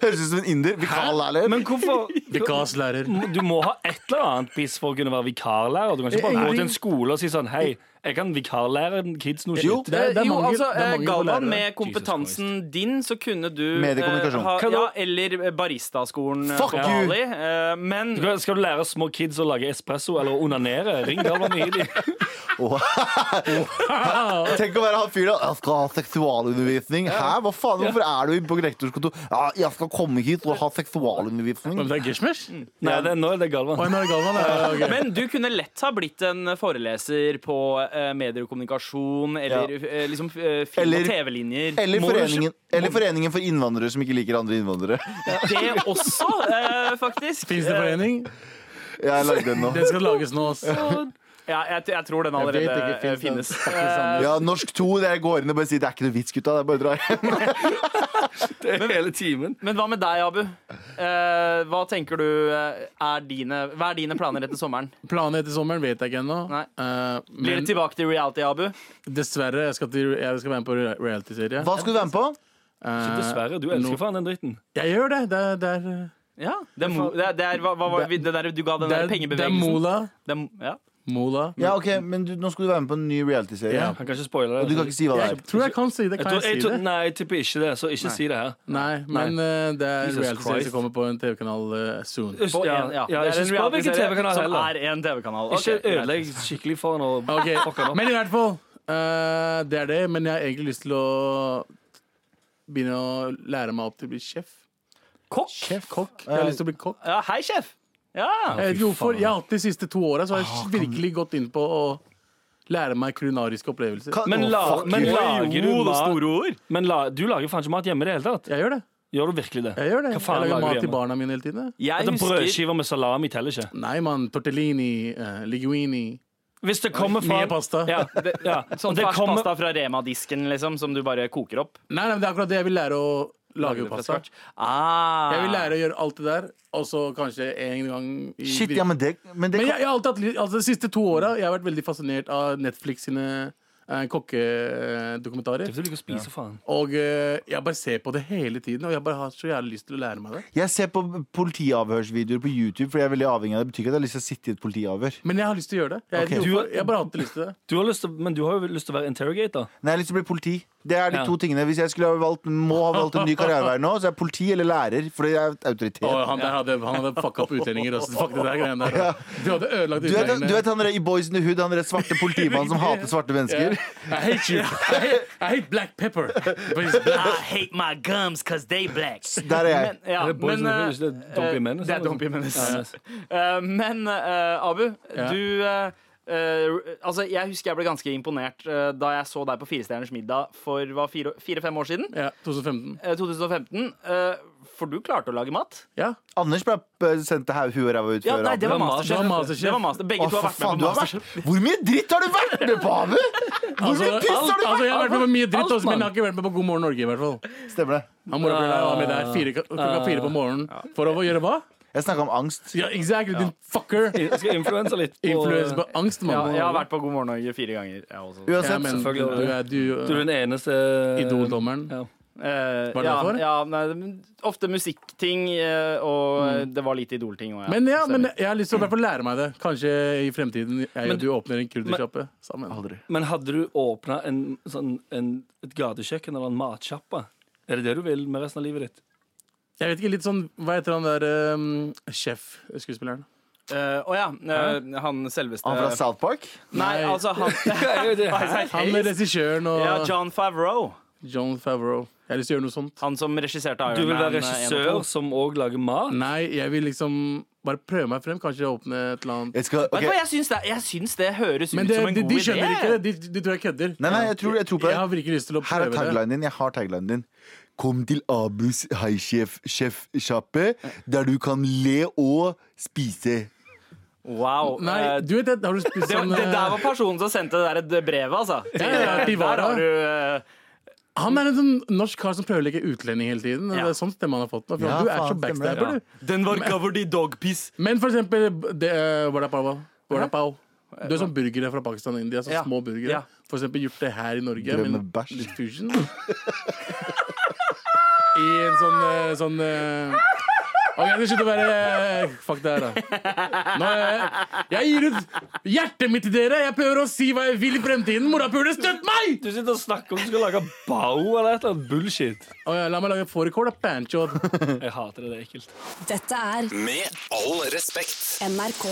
B: Høres ut som en inder. Vikarlærer.
C: Men hvorfor
F: Vikaslærer.
C: Du må ha et eller annet piss for å kunne være vikarlærer. Du kan ikke bare gå til en skole og si sånn Hei, jeg kan vikarlære kids noe
F: Jo,
C: shit.
F: det er, det er
E: jo,
F: mangel,
E: altså,
F: det er
E: eh,
F: mangel på
E: Galvan,
F: lærere.
E: med kompetansen din så kunne du
B: Mediekommunikasjon.
E: eh, ha-
C: Kan du-
E: ja, eller baristaskolen eh,
B: Fuck
E: på
B: you.
E: Bali. eh, men
C: Skal- Skal du lære små kids å lage espresso eller å onanere? Ring Galvan Mihili.
B: Tenk å være han fyren da. Jeg skal ha seksualundervisning. Hæ, hå faen? Hvorfor er du på rektors kontor? Ja, jeg skal komme hit og ha seksualundervisning.
F: Men det er Gishmesh?
E: Mm.
C: Nei, det, nå er det Galvan.
F: Oi, nå er det Galvan. ja, ok.
E: Men du kunne lett ha blitt en foreleser på eh, medier og kommunikasjon, eller
B: Ja.
E: eh, liksom eh, film-
B: Eller-
E: og TV-linjer.
B: Eller foreningen, eller foreningen for innvandrere som ikke liker andre innvandrere.
E: Det også, eh, faktisk.
F: Fins det forening?
B: Jeg lagde den nå.
F: Den skal lages nå. ass.
E: Ja, jeg, jeg tror den
F: Jeg vet
E: allerede
F: ikke,
E: eh, finnes.
F: finnes den? Det er ikke sånn.
B: Ja, norsk 2, der jeg går inn og bare sier det er ikke noe vits, gutta. Det er bare å dra hjem.
C: Det er hele timen.
E: Men hva med deg, Abu? Eh, hva tenker du eh, er dine, Hva er dine planer etter sommeren?
F: Planen etter sommeren vet jeg ikke ennå.
E: Nei.
F: Eh,
E: Blir
F: men
E: det tilbake til reality, Abu?
F: dessverre, jeg skal, til, jeg skal være med på re- reality-serie.
B: Hva skal du være med på?
F: Eh,
C: Dessverre. Du
F: nå-
C: elsker faen den dritten.
F: Jeg gjør det. Det er, det er,
E: Ja, det er, Mo- det er, det er hva, hva var det der du ga den der
F: det er, det er
E: pengebevegelsen?
F: Mola.
E: Det er mo- ja.
F: Mola.
B: Ja, ok, Men du, nå skal du være med på en ny reality-serie.
F: Ja.
C: Han kan ikke spoile
B: Og
C: det.
B: du kan ikke si hva det
F: Jeg
B: er.
F: tror jeg kan si det.
C: Jeg
F: Kan
C: tror,
F: jeg
C: jeg
F: si
C: tror,
F: det?
C: nei, jeg tipper ikke det, så ikke si det her.
F: Nei, men eh, det er
C: Jesus
F: reality-serie
C: Christ.
F: som kommer på en TV-kanal eh, soon.
E: På
C: Ja,
E: en-
C: ja,
E: det er
C: ikke
E: en
C: spør hvilken
E: reality-serie
C: TV-kanal
E: Som
C: heller.
E: er en TV-kanal.
C: Ikke
E: Ok, greit.
C: ødelegg skikkelig for han og
F: Ok,
C: fuck han opp.
F: Men i hvert fall, eh, det er det. Men jeg har egentlig lyst til å begynne å lære meg opp til å bli sjef.
E: Kokk?
F: Kokk. Jeg har lyst til å bli kokk.
E: Ja, hei, sjef. Ja.
F: Jeg vet ikke hvorfor.
C: faen.
F: Jeg har hatt de siste to åra, så har jeg virkelig gått inn på å lære meg kulinariske opplevelser.
B: Kan-
C: Men,
B: Å,
C: la,
B: fuck
C: men
B: you.
C: lager du mat
E: ord.
C: Men la, du lager faen ikke mat hjemme i det hele tatt.
F: Jeg gjør det.
C: Gjør du virkelig det?
F: Jeg gjør det.
C: Hva
F: Jeg
C: faen
F: lager
C: lager du
F: mat til
C: hjemme?
F: barna mine hele tiden. jeg.
E: Jeg
C: At en
E: husker
C: brødskive med salami teller ikke.
F: Nei, mann. Tortellini, eh, liguini
C: Hvis det kommer fra
F: Mye pasta.
C: Ja, ja.
E: sånn
C: Og det
E: fersk
C: kommer-
E: pasta fra Rema-disken, liksom, som du bare koker opp.
F: Nei, nei, men det er akkurat det jeg vil lære å lage
E: Lager fra
F: pasta.
E: scratch. Ah.
F: Jeg vil lære å gjøre alt det der, og så kanskje en gang i
B: Shit,
F: virke-
B: ja, men det, men det
F: Men jeg,
B: kan,
F: jeg har alltid hatt li- altså, De siste to åra jeg har vært veldig fascinert av Netflix sine eh, kokkedokumentarer.
C: Hvis du liker å spise, faen.
F: Og eh, jeg bare ser på det hele tiden, og jeg bare har så jævlig lyst til å lære meg det.
B: Jeg ser på politiavhørsvideoer på YouTube, Fordi jeg er veldig avhengig av det. Det betyr ikke at jeg har lyst til å sitte i et politiavhør.
F: Men jeg har lyst til å gjøre det. Jeg,
B: Ok.
F: vet ikke
C: Du-
F: hvorfor. jeg har bare alltid lyst til det.
C: Du har lyst til, men du har jo lyst til å være interrogator.
B: Nei, jeg har lyst til å bli politi. Det er de
C: Ja.
B: to tingene. Hvis jeg skulle ha valgt, må ha valgt en ny karrierevei nå, så er jeg politi eller lærer. Fordi jeg er autoritet.
F: Å, han der hadde, han hadde fucka opp utlendinger. Altså. Fuck det der greiene der. Du hadde ødelagt
B: Du vet,
F: utlendingene.
B: du vet han der i Boys in the Hood, han der svarte politimannen som hater svarte mennesker?
F: I hate you. I hate, I hate black pepper. But it's black.
E: I hate my gums cause they black.
B: Der er jeg.
E: Men, ja,
C: Det er Boys in the
E: men,
C: Hood, ikke det?
E: eh,
C: Don't Be Menace,
E: Det er
C: eller
E: Don't Be
C: noe
E: Menace.
C: sånt. Ja, yes.
E: Eh, men eh, Abu,
F: Ja.
E: du eh, eh, Altså, jeg husker jeg ble ganske imponert eh, da jeg så deg på Firestjerners middag for hva, fire- fire-fem år siden.
F: Ja, 2015.
E: Eh, 2015. eh, for du klarte å lage mat.
F: Ja.
B: Anders ble eh, sendt til hue ræva ut
E: Ja,
B: før.
E: nei, det
C: Det var
E: var Masterchef.
F: Masterchef.
E: Det var Master. Begge
B: Å,
E: to har
B: for
E: vært med
B: faen,
E: på
B: du har
E: Masterchef.
B: vært- Hvor mye dritt har du vært med på, Abu? Hvor
F: Altså,
B: mye piss har
F: alt,
B: du
F: altså, jeg har vært med på mye dritt,
B: Alt,
F: også, men jeg
B: mann.
F: har ikke vært med på God morgen Norge. i hvert fall
B: Stemmer det.
F: Han morapuleren var med der fire, klokka fire på morgenen for å gjøre hva?
B: Jeg snakka om angst.
F: Ja, exactly, din fucker!
C: Jeg skal influense litt. på-
F: Influencer på angst,
E: Ja,
F: mann.
E: jeg har vært på God morgen Norge fire ganger. Jeg også.
F: Ja,
B: Uansett.
F: men, du,
C: selvfølgelig.
F: er- du,
C: Du er den eneste
F: Idol-dommeren.
C: Ja.
E: Eh,
F: Var det
E: ja,
F: derfor?
E: Ja, nei, men ofte musikkting, eh, og
C: Mm.
E: det var litt idolting òg.
F: Men ja, men jeg har lyst til å i hvert fall lære meg det. Kanskje i fremtiden jeg og du åpner en kurdersjappe sammen.
B: Aldri.
C: Men hadde du åpna en, sånn, en, et gatekjøkken eller en matsjappe? Er det det du vil med resten av livet ditt?
F: Jeg vet ikke, litt sånn, Hva heter han der um, sjef-skuespilleren?
E: Å ja. eh, han selveste
B: Han fra South Park?
E: Nei,
F: Nei.
E: altså han Isaac
F: Han
E: Hayes.
F: er regissøren og
E: Ja, John Favreau.
F: John Favreau. Jeg har lyst til å gjøre noe sånt.
E: Han som regisserte Iron Man.
C: Du vil være
E: eh, en og
C: regissør
E: to.
C: som òg lager mat?
F: Nei, jeg vil liksom bare prøve meg frem. Kanskje åpne et eller annet
B: Jeg skal,
E: Vet
B: ok.
E: du hva, jeg syns det, jeg syns det høres
F: Men
E: ut
F: det,
E: som en
F: de,
E: god
F: de
E: idé.
F: skjønner ikke det. De, de tror jeg kødder.
B: Nei, nei, jeg tror, jeg tror på
F: Jeg har
B: det.
F: virkelig lyst til å
B: Her er
F: prøve det.
B: taglinen din. Jeg har taglinen din. Kom til Abus haisjef-sjappe, der du kan le og spise.
E: Wow.
F: Nei,
E: eh,
F: du vet det, har du spist
E: det, var-
F: sånn
E: det der
F: eh,
E: var personen som sendte det der brevet, altså.
F: ja, ja, de var
E: der har
F: da.
E: du eh,
F: Han er en sånn norsk kar som prøver å leke utlending hele tiden.
E: Ja.
F: Det er sånn stemme han har fått nå. For
B: Ja,
F: du er så
B: faen, stemmer det.
F: backstabber, du.
E: Den var covered i dogpiss.
F: Men for eksempel det, eh, Vada Pava. Vada Pau. Du er sånn burgere fra Pakistan og India. Så
E: Eh, Ja.
F: små burgere.
E: Ja.
F: For eksempel gjort det her i Norge.
B: Brød med
F: men
B: bæsj.
F: Litt fusion. I en sånn, eh, sånn eh, Ok, det slutter å være eh, Fuck det her, da. Nå, eh, jeg gir ut hjertet mitt til dere. Jeg prøver å si hva jeg vil i fremtiden. Morapuler, støtt meg!
C: Du sitter og snakker om du skal lage bao eller et eller annet bullshit.
F: Å ja, la meg lage fårikål, da. Pancho.
C: Jeg hater det. Det er ekkelt.
D: Dette er
A: Med all respekt.
D: NRK.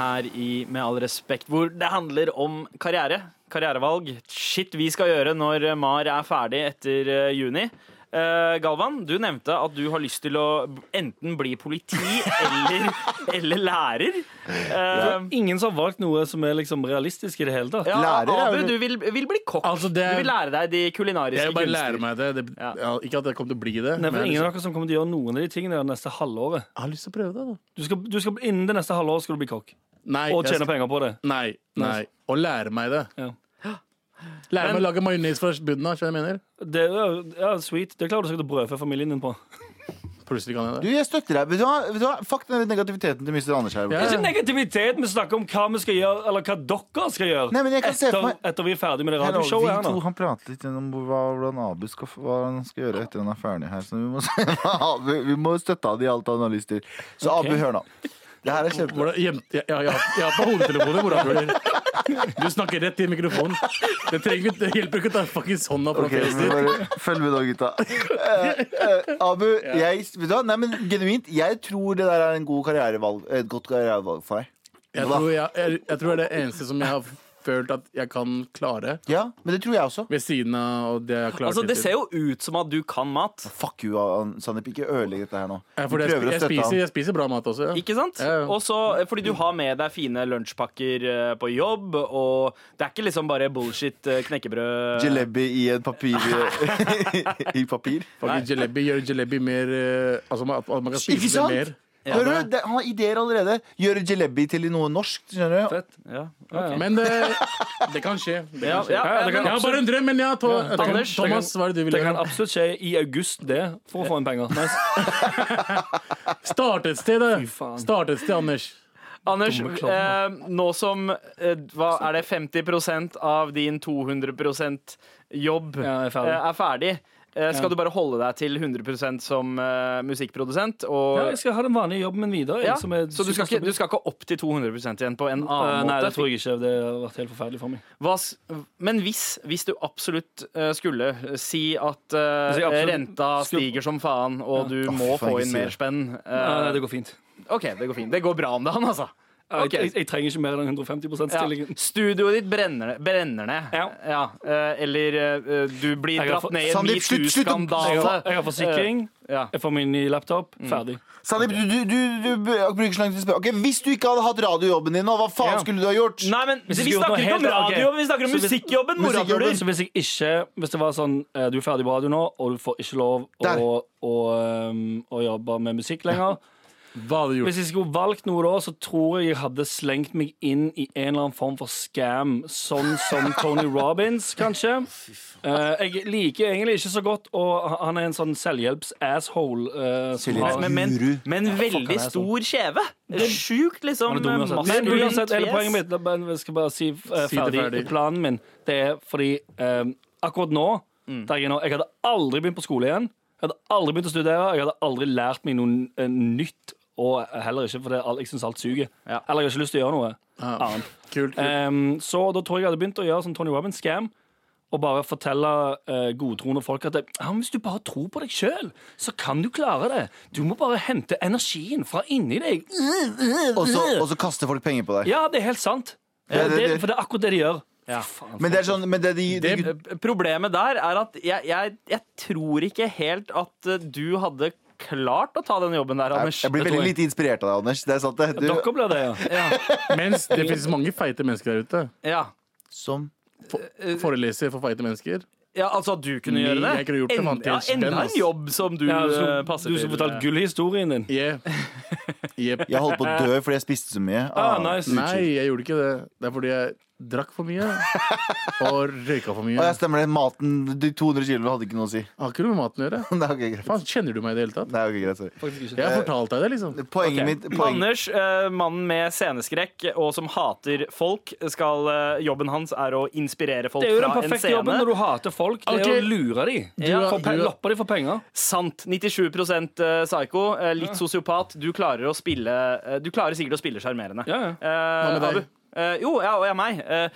E: her i Med all respekt, hvor det handler om karriere. Karrierevalg. Shit vi skal gjøre når MAR er ferdig etter eh, juni. Eh, Galvan, du nevnte at du har lyst til å enten bli politi eller, eller lærer. Eh,
C: Ingen som har valgt noe som er liksom realistisk i det hele tatt.
E: ja,
B: Lærer er
E: Abu,
B: jo-
E: du vil, vil bli kokk.
F: Altså, det er-
E: Du vil lære deg de
F: Jeg
E: kulinariske
F: vil bare lære
E: kunster.
F: meg det. det
E: Ja.
F: ja, ikke at jeg kommer til å bli det.
C: Nei,
F: men
C: for
F: jeg,
C: ingen
F: har
C: av dere som kommer til å gjøre noen av de tingene det neste halvåret.
F: lyst, jeg har lyst til å prøve det, da.
C: Du skal, du skal, innen det neste halvåret skal du bli kokk.
F: Nei,
C: og
F: jeg
C: tjene
F: skal-
C: penger på det.
F: Nei, nei. Og lære meg det.
C: Ja.
F: Lære meg
C: Men-
F: å lage majones fra bunnen av. skjønner du hva jeg mener?
C: Det er, ja, sweet. Det klarer du sikkert å brødfø familien din på.
F: Plutselig kan jeg
B: Du,
F: det.
B: jeg støtter deg. Vet du hva? Vet du hva? Fuck den negativiteten til Mr. Anders her.
C: Det er
F: Ja.
C: ikke negativitet vi snakker om hva vi skal gjøre, eller hva dere skal gjøre.
B: Nei, men jeg kan se
C: etter,
B: for meg-
C: etter vi er ferdig med det
B: Her har
C: radioshowet her
B: vi to,
C: nå.
B: han prater litt om hva, hvordan Abu skal, hva han skal gjøre etter han er ferdig her. Så vi må, se hva Abu, vi må støtte han i alt han har lyst til. Så
C: Ok.
B: Abu, hør nå. Det her er kjempe...
F: Hvordan, hjem, ja, ja, ja, ja, på hodetelefoner, morapuler. Du snakker rett i mikrofonen. Det, trenger, ikke- det hjelper ikke å ta sånn fuckings hånda fra
B: Ok,
F: fjeset
B: men
F: ditt.
B: bare Følg med da, gutta. Eh, eh, Abu, jeg, vet du hva? Nei, men genuint, jeg tror det der er en god karrierevalg, et godt karrierevalg for deg.
F: Jeg tror, jeg, jeg, jeg tror det er det eneste som jeg har følt at jeg kan klare,
B: Ja, men det tror jeg også.
F: ved siden av det jeg har klart
E: Altså, Det
F: hittil.
E: ser jo ut som at du kan mat,
B: Fuck you, An- Sandeep. Ikke ødelegg dette her nå.
F: Ja,
B: Vi
F: for det-
B: prøver å
F: jeg,
B: støtte
F: spiser,
B: han.
F: jeg spiser bra mat også. Ja.
E: ikke sant?
F: Ja, ja.
E: Og så- eh, Fordi du har med deg fine lunsjpakker eh, på jobb, og det er ikke liksom bare bullshit eh, knekkebrød.
B: Jalebi i en papir I papir.
F: Fucking jalebi gjør jalebi mer eh, Altså at man kan
B: Ikke
F: spise det
B: sant?
F: mer.
B: Hører du? Det, han har ideer allerede. Gjøre jalebi til noe norsk. skjønner du?
E: Ja.
F: Men det, det kan skje. Det
E: Ja,
F: kan skje.
C: Ja,
E: ja,
C: det
E: men-
C: kan-
F: Jeg har bare en drøm, men ja, to, Tom,
E: Anders, det
F: Thomas, hva er det du vil
C: Det kan
F: gjøre?
C: absolutt skje i august, det, for å få inn penger. Nice.
F: Start et sted, da.
C: faen.
F: Start et sted, Anders.
E: Anders,
C: Dumme klovner.
E: eh, nå som eh, hva, Er det 50 av din 200 jobb
C: Ja, jeg er ferdig.
E: eh, er ferdig? Eh, skal
C: Ja.
E: du bare holde deg til 100 som eh, musikkprodusent? Og,
C: Ja, jeg skal ha den vanlige jobben min videre. jeg,
E: Ja,
C: som er
E: så du skal, ikke, du skal ikke opp til 200 igjen på en
C: Eh,
E: annen
C: Nei, det
E: måte?
C: tror jeg ikke. Det har vært helt forferdelig for meg.
E: Hva, s- men hvis, hvis du absolutt eh, skulle si at eh,
C: Hvis jeg absolutt skulle-
E: renta stiger som faen, og du
B: Åh, faen,
E: må få
B: ikke
E: inn
B: si
E: mer
B: det.
E: spenn
C: Nei, nei,
E: eh,
C: det går fint.
E: OK, det går fint. Det går bra om dagen, altså.
C: Jeg,
E: Ok.
C: jeg, jeg trenger ikke mer enn 150 %-stillingen.
E: Ja. Studioet ditt brenner, brenner ned.
C: Ja.
E: eh, Eller eh, du blir
C: Jeg har
E: dratt
C: fått-
E: ned i en
B: Sandeep, slutt, slutt å-
C: Jeg,
E: metoo-skandale.
C: har- jeg har forsikring,
E: Eh, ja.
C: jeg får min nye laptop, ferdig.
B: Sandeep, Mm. du, du, du, du bruker så lang tid å spørre. Ok, Hvis du ikke hadde hatt radiojobben din nå, hva faen
C: Ja.
B: skulle du ha gjort?
E: Nei, men
C: Hvis
E: vi
C: vi gjorde noe
E: snakker ikke om
C: helt- ok.
E: radiojobben, vi snakker om
C: Så hvis-
E: musikkjobben,
B: musikkjobben,
E: morapuler!
C: Så hvis jeg ikke Hvis det var sånn eh, Du er ferdig på radio nå, og du får ikke lov
B: Der.
C: å, å, ehm, å jobbe med musikk lenger
F: Hva hadde du gjort?
C: Hvis jeg skulle valgt noe da, så tror jeg jeg hadde slengt meg inn i en eller annen form for scam. Sånn som Tony Robins, kanskje. Eh, jeg liker egentlig ikke så godt Og Han er en sånn selvhjelps-asshole. eh, som har-
E: Men, men,
B: Guru.
E: men veldig
C: han er
E: stor kjeve. Sjukt, liksom.
C: Han er dum
E: eh,
C: uansett.
E: maskulint
C: Men uansett, hele
E: fjes.
C: poenget mitt da bare- Jeg skal bare si eh,
F: Si det
C: ferdig,
F: ferdig.
C: planen min. Det er fordi eh, akkurat nå, der jeg er nå Jeg hadde aldri begynt på skole igjen. Jeg hadde aldri begynt å studere. Jeg hadde aldri lært meg noe eh, nytt. Og heller ikke fordi all- jeg syns alt suger.
E: Ja.
C: Eller jeg har ikke lyst til å gjøre noe
F: Ja.
C: annet.
F: Kult.
C: Ehm, så da tror jeg jeg hadde begynt å gjøre som Tony Robbins scam. Og bare fortelle eh, godtroende folk at det- ja, men hvis du bare tror på deg sjøl, så kan du klare det. Du må bare hente energien fra inni deg.
B: Og så, og så kaster folk penger på deg.
C: Ja, det er helt sant. Det,
B: Ja, det-
C: det,
B: det-
C: for det er akkurat det de gjør.
E: Ja.
B: Men det er sånn men det er de, de,
F: Det-
B: gutt-
E: Problemet der er at jeg, jeg, jeg tror ikke helt at eh, du hadde klart å ta den jobben der,
B: jeg,
E: Anders.
B: jeg blir
E: Det tror
B: veldig lite inspirert av deg, Anders. Det er sant, det. Du,
C: Dere blir det, ja.
F: Mens det finnes mange feite mennesker der ute.
E: Ja.
B: som
C: Eh,
F: Foreleser for feite mennesker.
E: ja, altså at du kunne gjøre det?
F: Jeg kunne gjort det, man, til
E: enda,
F: en spenn,
E: enda
F: ass.
E: en jobb som du
C: ja
E: eh,
C: så,
E: passer
C: du som
E: til.
C: fortalte gullhistorien din.
F: Yeah. Yep.
B: Jeg holdt på å dø fordi jeg spiste så mye.
C: Ah, nice.
F: Nei, jeg gjorde ikke det. Det er fordi jeg drakk for mye og røyka for
B: Og
F: mye.
B: jeg stemmer det. Maten, de 200 kiloene hadde ikke noe å si.
F: Har ikke noe med maten å gjøre.
B: Det er ok, greit.
F: Faen, kjenner du meg i det hele tatt?
B: Det er ok, greit, sorry.
F: Jeg har fortalt deg det, liksom.
B: Poenget mitt poeng,
E: Anders, eh, mannen med sceneskrekk og som hater folk, skal, eh, jobben hans er å inspirere folk
C: Det er jo
E: fra
C: den
E: en
C: perfekte
E: scene.
C: jobben når du hater folk. Det
F: Ok.
C: er å lure dem.
E: Ja,
C: For pe
F: du-
C: lopper de for penger.
E: Sant. 97 psycho, eh, litt sosiopat. Du klarer, å spille, eh, du klarer sikkert å spille sjarmerende.
C: Ja, ja.
E: Eh,
F: Hva med deg?
E: Abu? Eh, jo, ja, og jeg meg. Eh,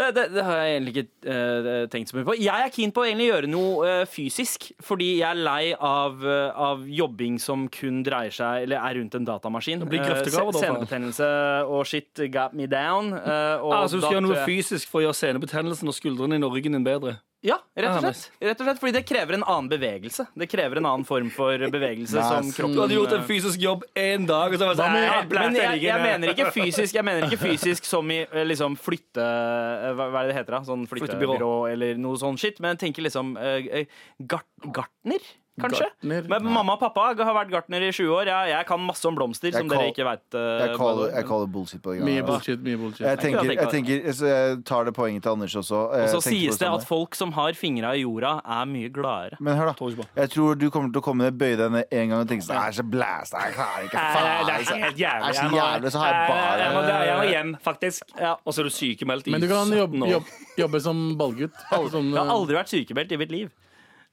E: eh, det, det har jeg egentlig ikke eh, tenkt så mye på. Jeg er keen på å egentlig gjøre noe eh, fysisk, fordi jeg er lei av, eh, av jobbing som kun dreier seg Eller er rundt en datamaskin.
C: blir
E: Eh,
C: grøftegrav, da,
E: se- Senebetennelse og shit got me down. eh, og
C: Altså, du
E: da
C: skal gjøre
E: tror
C: noe
E: jeg-
C: fysisk for å gjøre senebetennelsen og skuldrene dine og ryggen din bedre.
E: ja, rett og
C: Ah,
E: slett. Rett og slett fordi det krever en annen bevegelse. Det krever en annen form for bevegelse som
B: Nice.
E: kroppen
C: Du hadde gjort en fysisk jobb én dag. Og så var det
F: Hva
C: sånn,
F: med-
C: "Nei,
E: Ja,
C: helt blæst,
E: men jeg, jeg,
C: liker
E: mener
C: det."
E: ikke fysisk, jeg mener ikke fysisk som i eh, liksom flytte... eh, Hva, hva er det det heter da? Sånn flyttebyrå
C: Flyttebyrå.
E: eller noe sånn shit. Men jeg tenker liksom eh, eh, gart, gartner? kanskje.
F: Gartner?
E: Men
F: Nei.
E: mamma og pappa har vært gartner i 20 år. Jeg, jeg kan masse om blomster, som
B: call-
E: dere ikke eh, veit.
B: Jeg kaller, jeg kaller bullshit på det. greiene
F: Mye
B: der, altså.
F: bullshit, mye bullshit.
B: Jeg
E: Jeg
B: tenker,
E: kunne
B: jeg
E: ha tenkt
B: tenker så jeg tar det poenget til Anders også. Jeg
E: Så
B: tenker på
E: sies det
B: samme.
E: at folk som har fingra i jorda, er mye gladere.
B: Men hør,
C: Tror ikke
B: da.
C: på.
B: Jeg tror du kommer til å komme ned, bøye deg ned en gang og tenke sånn Æsj, så blæst, jeg klarer ikke faen.
C: det er helt
B: altså.
C: jævlig.
B: er så
C: Jeg må-
B: jævlig, så har jeg bare-
C: Jeg må, jeg må hjem, faktisk. Og så er du sykemeldt i
F: Men du kan
C: 17
F: jobbe,
C: år.
F: jobbe, jobbe som ballgutt. Sånn,
E: Jeg har
F: eh,
E: aldri vært sykemeldt i mitt liv.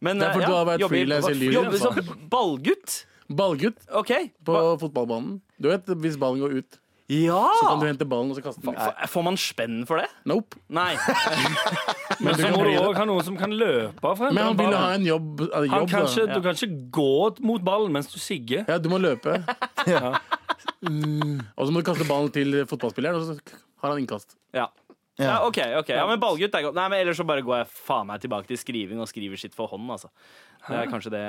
E: Men,
F: Det er fordi
E: eh,
F: du har vært
E: jobber-
F: freelance hele livet,
E: Jobber
F: altså.
E: som ballgutt?
F: Ballgutt
E: OK.
F: på fotballbanen. Du vet, Hvis ballen går ut,
E: Ja!
F: så kan du hente ballen og så kaste den.
E: F- Får man spenn for det?
F: Nope.
E: Nei.
C: Men
F: du
C: så må
F: kan
C: Sånn du
F: bli det.
C: òg ha noen som kan løpe. For
F: Men han vil ha en jobb. eh, jobb
C: han kan
F: da.
C: ikke, Du kan ikke gå mot ballen mens du sigger.
F: Ja, du må løpe. Mm. Og så må du kaste ballen til fotballspilleren, og så har han innkast.
E: Ja. Ja, OK. ok Ja, Men ballgutt er godt. Nei, men Ellers så bare går jeg faen meg tilbake til skriving og skriver sitt for hånd. altså Det er kanskje det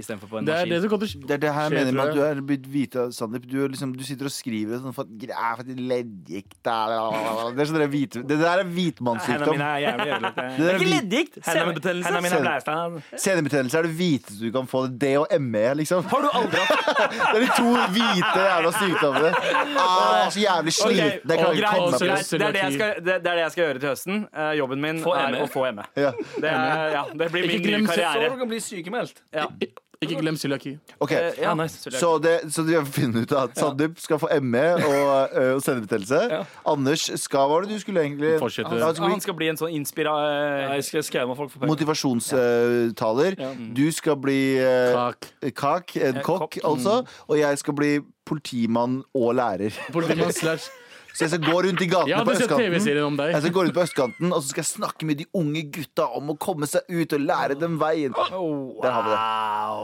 E: istedenfor på en
F: Det er det
E: maskin.
F: som kommer til
B: Det er det her jeg
F: Skjer,
B: mener med at du
F: tror
B: er blitt hvite, Sandeep. Du, er liksom, du sitter og skriver og sånn for at «Gre- er for at leddgikt er- Det er sånn der hvite, Det der er hvitmannssykdom.
C: er jævlig ødelagte.
B: Det der er
E: Ikke
B: hvit-
E: leddgikt!
C: Hendene
E: Senebetennelse.
B: mine
C: mine
B: er
C: er blæsta.
B: Senebetennelse er det hviteste du kan få. Det er D og ME, liksom.
E: Har du aldri hatt
B: Det er de to hvite jævla sykdommene. Ah, jeg er så jævlig
E: Ok,
B: sliten. Jeg
E: og
B: klarer ikke å
E: greit,
B: komme meg på.
E: greit. Det er det jeg skal- det- det er det jeg skal gjøre til høsten. Eh, jobben min
C: Få
E: er
C: ME.
E: å få ME.
B: Ja.
E: Det, er, ja, det blir min
F: E. Ikke
E: nye
F: glem
C: Så
E: karriere.
C: du kan bli sykemeldt.
E: Ja.
F: Ik- Ikke glem cøliaki.
B: Ok,
E: Eh, Ja,
C: nice.
E: Så-
B: Så, det, så vi har funnet ut at Sandeep skal få ME og, ø, og senebetennelse. Anders skal Hva var det du skulle egentlig?
F: Fortsette.
B: Ja, han skal bli
E: Han skal bli en sånn inspira...
C: Jeg skal skamme folk for penger.
B: Motivasjonstaler. Du skal bli ø,
F: Kak.
B: kakk, en kokk altså. Og jeg skal bli politimann og lærer.
F: Politimann slash
B: Så jeg skal gå rundt i
F: Jeg
B: gatene på
F: hadde sett
B: østkanten.
F: TV-serien om deg.
B: Jeg skal gå rundt på østkanten Og så skal jeg snakke med de unge gutta om å komme seg ut og lære dem veien. Der har vi det.
E: Wow.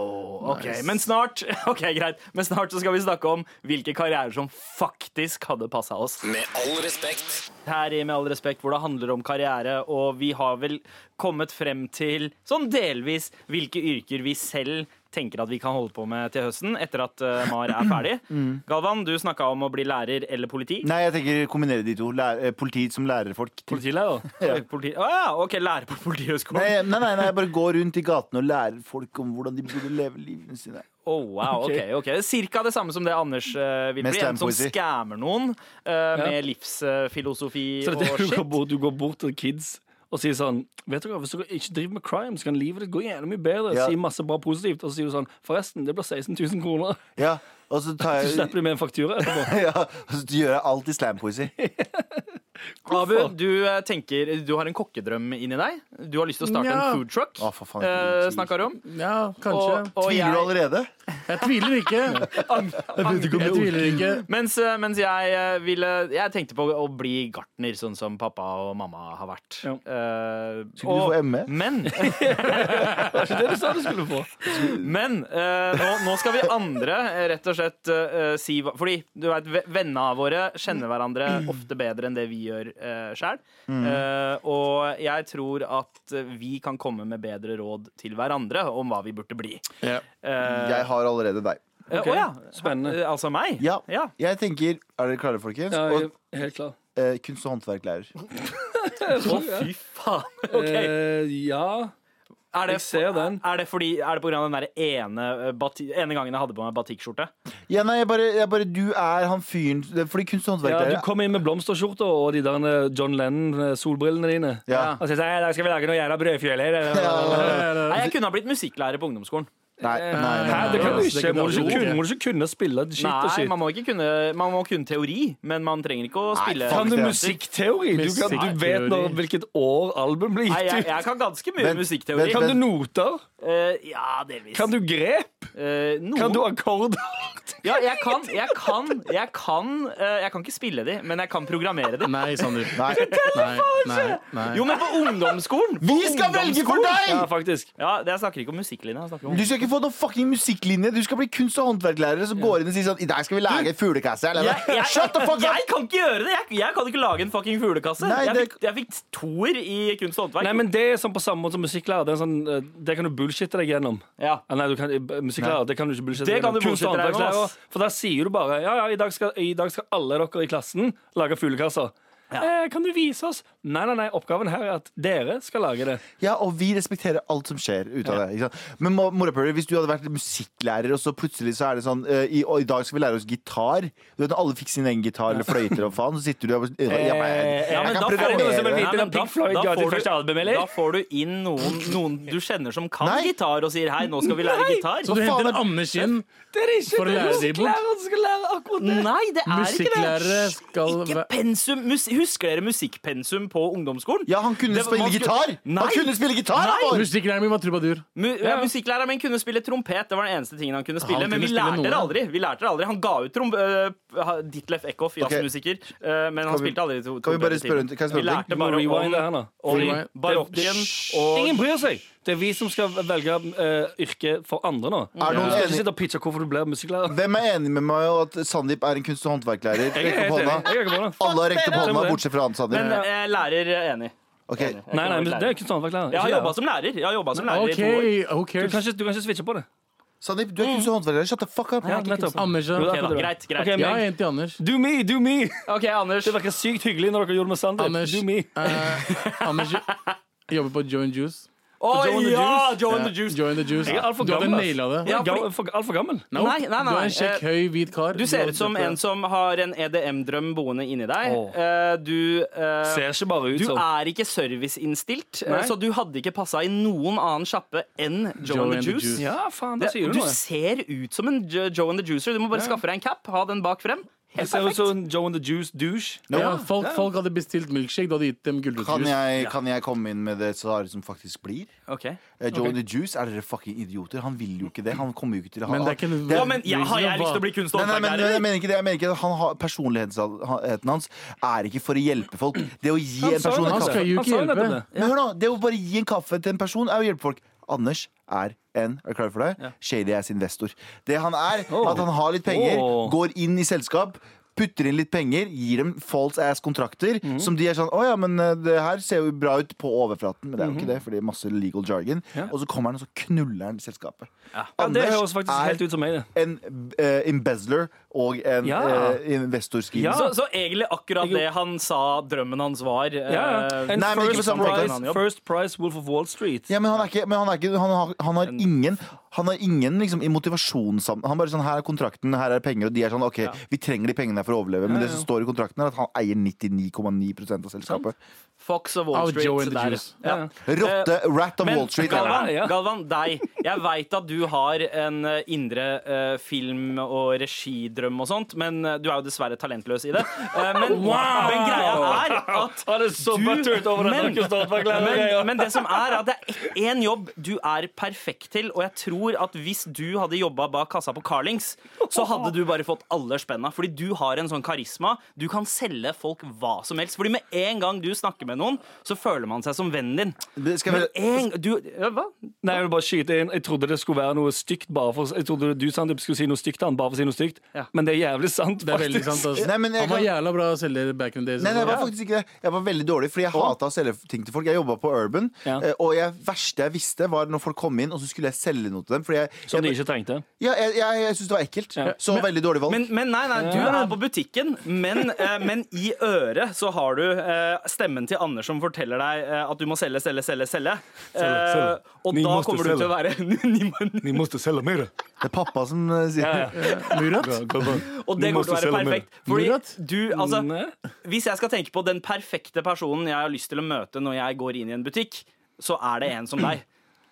E: Ok, men snart Ok, greit. Men snart så skal vi snakke om hvilke karrierer som faktisk hadde passa oss.
A: Med all respekt.
E: Her i Med all respekt hvor det handler om karriere, og vi har vel kommet frem til sånn delvis hvilke yrker vi selv tenker at vi kan holde på med til høsten, etter at eh, Mar er ferdig. Galvan, du snakka om å bli lærer eller politi.
B: Nei, jeg tenker kombinere de to. Lære, politiet som lærerfolk.
C: Politilærer.
E: politi. Å ja, OK, lærer på Politihøgskolen.
B: Nei, nei, nei, nei, jeg bare går rundt i gatene og lærer folk om hvordan de burde leve livene sine.
E: Oh, wow, ok, ok Cirka det samme som det Anders eh, vil
B: Med
E: bli. En som
B: slampoesi.
E: skammer noen eh, med livsfilosofi
C: Så
E: og
C: det er det du,
E: shit.
C: går bort, du går bort til kids og sier sånn Vet dere, Hvis dere ikke driver med crime, så kan livet ditt gå jævlig mye bedre.
B: Ja.
C: Si masse bra positivt, og så sier du sånn Forresten, det blir 16 000 kroner.
B: Ja, og så tar
C: Så
B: jeg
C: slipper du med en faktura etterpå.
B: ja, og så gjør jeg alt i slampoesi.
E: Abu, du, eh, tenker, du har en kokkedrøm inni deg. Du har lyst til å starte
F: Nja.
E: en food truck.
B: Å, for faen,
E: eh,
B: jeg
E: snakker du om.
F: Ja,
E: Og,
F: kanskje.
E: og
B: Tviler du
E: jeg,
B: allerede?
F: Jeg tviler ikke. Jeg tviler ikke.
E: mens, eh, mens jeg eh, ville Jeg tenkte på å bli gartner, sånn som pappa og mamma har vært.
C: Ja.
E: Eh,
B: Skulle du E?
E: og-
B: få ME?
E: Men
C: Det er det du sa du skulle få.
E: Men eh, nå, nå skal vi andre eh, rett og slett eh, si hva Fordi du vet, ve- vennene våre kjenner hverandre ofte bedre enn det vi gjør uh, sjøl.
C: Mm.
E: og jeg tror at vi kan komme med bedre råd til hverandre om hva vi burde bli.
F: Ja.
B: Jeg har allerede deg.
E: Eh, Å ja.
C: Spennende.
E: Eh, altså meg?
B: Ja. Jeg tenker Er dere klare, folkens?
C: Ja,
B: Og,
C: jeg er helt klar.
B: eh, kunst- og håndverklærer.
E: Å, fy faen. Ok.
C: Eh, ja
E: Er det,
C: jeg ser den.
E: Er det, fordi, er det på grunn av den der ene, eh, bati, ene gangen jeg hadde på meg batikkskjorte?
B: Ja, nei, jeg bare, jeg bare Du er han fyren Fordi kunst- og
C: Ja,
B: håndverklærer
C: du kom inn med blomsterskjorta og de der eh, John Lennon-solbrillene dine.
B: Ja.
C: Og så sa jeg i dag skal vi lage noen jævla brødfjeler. Hæ,
E: Nei, jeg kunne ha blitt musikklærer på ungdomsskolen.
B: Nei, nei, nei, nei,
C: det kan du
F: Det
C: ikke.
F: kunne
C: Må du
F: jeg
C: ikke
F: ikke.
C: kunne, må du ikke kunne spille shit og
E: Nei,
C: shit.
E: man må ikke kunne, man må kunne teori, men man trenger ikke å
B: Nei,
E: spille
B: faen,
C: Kan du
B: det er-
C: musikkteori? Du, kan,
F: Musikkteori.
C: du vet når, hvilket år album blir
E: Nei, jeg,
C: gitt ut.
E: jeg kan ganske mye
B: Vent,
E: musikkteori.
B: vent,
C: Kan
B: vent.
C: du noter?
E: Eh, ja, delvis.
C: Kan du grep?
E: Eh, noen.
C: Kan du akkorder?
E: Ja, jeg kan, jeg kan, jeg kan eh, Jeg kan ikke spille de, men jeg kan programmere de.
F: Nei, Sander.
B: nei.
F: Nei, nei, nei.
E: Jo, men på ungdomsskolen! På
B: Vi skal velge for
E: ungdomsskolen!
B: deg!
C: Ja, faktisk.
E: Ja, det- Jeg snakker ikke om musikklinja. Jeg snakker om
B: Du skal ikke få noen fucking musikklinje. Du skal bli kunst- og håndverklærer som går inn og sier sånn I dag skal vi lage fuglekasse. eller
E: jeg,
B: noe."
E: jeg,
B: Shut the fuck
E: jeg
B: up!
E: kan ikke gjøre det! Jeg, jeg kan ikke lage en fucking fuglekasse.
B: Nei,
E: jeg,
B: det-
E: fikk, jeg fikk toer i kunst og håndverk.
C: Nei, men Det er sånn på samme måte som musikklærer. Det, er sånn, eh, det kan du bullshitte deg gjennom.
E: ja.
C: Ah, Nei, du kan, eh, musikklærer, det kan du ikke bullshitte
E: Det
C: deg
E: kan
C: gjennom.
E: du
C: Kunst- og
E: bullshitte deg gjennom,
C: håndverkslærer,
E: ass.
C: For der sier du bare Ja, ja, i dag skal, i dag skal alle dere i klassen lage fuglekasser. Eh, kan du vise oss? Nei, nei, nei, oppgaven her er at dere skal lage det.
B: Ja, og vi respekterer alt som skjer ut av det. Ikke sant? Men mo- morapuler, hvis du hadde vært musikklærer, og så plutselig så er det sånn eh, i, og I dag skal vi lære oss gitar. Du vet, når alle fikk sin egen gitar eller fløyter og faen, så sitter du der og bare, ja, men,
E: Eh, Ja, men
B: jeg
E: da
B: kan
E: får du noen som vil
B: programmere.
E: vite
C: Nei, men
E: om
C: da-
E: Pink Floyd
C: da
E: ga
C: får
E: sitt
C: du-
E: første album, eller?
C: da
E: får du inn noen, du kjenner som kan
B: Nei.
E: gitar, og sier 'hei, nå skal vi lære gitar'.
F: Så du
B: Hva faen
F: henter
B: er-
F: Anders inn
C: Det er ikke
F: For å lære de bort.
C: musikklæreren som skal lære akkurat det.
E: Nei, det er ikke det.
F: Musikklærere
B: Altså,
F: skal
E: Ikke
F: være-
E: pensum. Mus husker dere musikkpensum på ungdomsskolen?
B: Ja, han kunne
E: Det- man
B: spille
E: skulle-
B: gitar!
E: Nei.
B: Han kunne spille gitar!
E: Nei.
B: han var-
F: Musikklæreren min var trubadur.
E: Mu ja, Musikklæreren min kunne spille trompet. Det var den eneste tingen han kunne spille.
F: kunne
E: men vi
F: spille
E: lærte det
F: noe.
E: aldri. Vi lærte det aldri. Han ga ut trom... øh, ha- Ditlef Eckhoff, jazzmusiker, øh, men han
B: vi-
E: spilte aldri to
B: kan vi bare
E: trompet i
B: spørre-
E: timen.
B: kan jeg spørre
E: Vi
B: om ting?
E: lærte
C: Du må
E: bare
C: rewind det her
E: om,
C: nå.
E: om
F: Rewind.
E: barokken og
C: Ingen bryr seg. Det er vi som skal velge eh, yrke for andre nå.
B: Er noen
C: Du skal
B: enig-
C: ikke sitte og pitche hvorfor du blir musikklærer.
B: Hvem er enig med meg og at Sandeep er en kunst- og håndverklærer? Rekk
C: Jeg
B: opp
C: er helt enig.
B: hånda.
C: Jeg er ikke på det.
B: Alle har rekt opp
C: Stemmer
B: hånda,
C: det.
B: bortsett fra han,
E: Men
B: Sandeep.
E: eh, lærer er enig.
B: Ok.
C: Nei, nei, men det er ikke sånn
E: Jeg har jobba
C: håndverklærer.
E: som lærer. Jeg har jobbet som lærer
F: OK,
E: i to år.
F: who
C: Du kan
F: cares?
C: ikke, du kan ikke switche på det.
B: Sandeep, du er kunst- og håndverklærer. Shut the fuck up.
C: Ja, nettopp.
F: Anders, ja.
C: Jo, det er
E: Ok, da.
C: akkurat det.
E: Greit, greit.
C: sånn. Ok, men-
F: Jeg er en til Anders.
C: Do me, do me!
E: OK, Anders.
C: Det virker sykt hyggelig når dere gjorde det med Sandeep.
F: Anders,
C: Do me.
F: eh, Anders jobber på Joe and Juice.
E: Å
C: Joe and the
E: ja!
C: Juice.
E: Joe and the Juice.
F: Joe and the Juice.
C: Jeg er alt for
F: Du hadde
C: gammel, ass.
F: naila det.
E: Ja, fordi-
C: Gammel- for- Altfor gammel.
F: Nope.
E: Nei, nei, nei,
F: Du er en
E: nei.
F: kjekk, høy, hvit kar.
E: Du ser ut som
F: har-
E: en som har en EDM-drøm boende inni deg.
C: Åh.
E: Eh, Du eh,
C: Ser ikke bare ut
E: Du
C: som
E: er ikke serviceinnstilt,
C: Sånn.
E: eh,
C: Nei.
E: så du hadde ikke passa i noen annen sjappe enn Joe, and the Juice.
C: Ja, faen,
E: Det,
C: det sier du
E: du
C: noe.
E: ser ut som en Jo- Joe and the Juicer. Du må bare skaffe deg en cap. Ha den bak frem.
C: Jeg
E: Helt
C: ser ut
E: perfekt.
C: som en Joe and the Juice douche.
F: Ja, folk, folk hadde bestilt milkshake, du hadde gitt dem
B: Kan
F: gulrotjuice.
B: jeg, kan jeg komme inn med det svaret som faktisk blir?
E: Ok.
B: Eh, Joe and the Juice, er dere fucking idioter? Han vil jo ikke det. Han kommer jo ikke til å ha
F: Men det er ikke
E: Å, men jeg, Har jeg lyst til å bli kunst- og
B: Nei, nei, men, jeg
E: håndverklærer?
B: mener ikke det. Jeg mener ikke det. Han har, personligheten hans er ikke for å hjelpe folk. Det å gi en person en
F: Han
B: kaffe
F: skal jo
C: Han
F: ikke
C: sa jo nettopp
F: hjelpe.
C: det.
B: Men hør nå, Det å bare gi en kaffe til en person er å hjelpe folk. Anders er en er du klar for det? shady ass investor. Det han er,
C: Oh.
B: at han har litt penger,
C: Oh.
B: går inn i selskap. Putter inn litt penger, gir dem false ass-kontrakter.
C: Mhm.
B: Som de er sånn 'Å ja, men eh, det her ser jo bra ut på overflaten', men det er jo
C: Mhm.
B: ikke det, fordi det er masse legal jargon. Og så kommer han og så knuller han selskapet.
C: Ja, det høres faktisk helt ut som meg, det.
B: en eh, embezzler og en
C: Ja.
B: eh, investorskriver.
C: Ja.
E: Så, så egentlig akkurat det han sa drømmen hans var. eh,
C: Ja, ja. And
B: Nei, men ikke på
C: first,
B: samme måte.
C: prize, first prize Wolf of Wall Street.
B: Ja, men han er ikke, men han er ikke han, har, han har ingen Han har ingen liksom, i motivasjonssam... Han bare sånn, her er kontrakten, her er penger, og de er sånn, ok, vi trenger de pengene her for å overleve, men det som står i kontrakten er at han eier 99,9 av selskapet.
E: Fox og
F: Av
E: Wall Street.
F: Joe and the
E: der.
F: Juice.
E: Ja.
B: Rotte, rat on
E: Men
B: Wall Street. er det.
E: Galvan,
C: Ja.
E: Galvan, deg. Jeg veit at du har en eh, indre eh, film- og regidrøm og sånt, men eh, du er jo dessverre talentløs i det. Eh, men, men greia er at
C: Han er så
E: du
C: buttert over at han
E: men,
C: ikke står bak læreren,
E: men,
C: ja.
E: men det som er at det er én jobb du er perfekt til, og jeg tror at hvis du hadde jobba bak kassa på Carlings, så hadde du bare fått alle spenna. Fordi du har en sånn karisma. Du kan selge folk hva som helst. Fordi med en gang du snakker med noen, så føler man seg som vennen din.
B: Det skal
E: Men
B: være-
E: en, du, ja, hva?
C: Nei, Jeg vil bare skyte inn Jeg trodde det skulle være noe stygt bare for Jeg trodde du Sandeep, skulle si noe stygt til han bare for å si noe stygt,
E: Ja.
C: men det er jævlig sant.
F: Det er veldig
C: faktisk.
F: sant. Altså.
B: Nei, men jeg
F: Han var
B: kan-
F: jævla bra selger back in the days.
B: Nei, nei, jeg
F: altså.
B: var faktisk ikke det. Jeg var veldig dårlig, fordi jeg hata å selge ting til folk. Jeg jobba på Urban,
C: Ja.
B: eh, og det verste jeg visste, var når folk kom inn, og så skulle jeg selge noe til dem. Fordi jeg,
C: Som de
B: jeg,
C: ikke trengte.
B: ja, jeg, jeg, jeg syntes det var ekkelt.
C: Ja.
B: Så veldig dårlig valg.
E: Men, men nei, nei, du er på butikken, men, eh, men i øret så har du eh, stemmen til Anders som forteller deg eh, at du må selge, selge, selge, selge. Eh, og
D: Ni
E: da
D: måste
E: kommer du til å være Ni må-
D: Ni måste sälja mer.
B: Det er pappa som eh, sier
C: Ja, ja.
F: Murat?
E: Og det
D: Ni
E: kommer til å
D: måste
E: være
D: selge mer.
E: perfekt. Fordi
F: Murat?
E: du, altså,
C: Nei.
E: hvis jeg skal tenke på den perfekte personen jeg har lyst til å møte når jeg går inn i en butikk, så er det en som deg.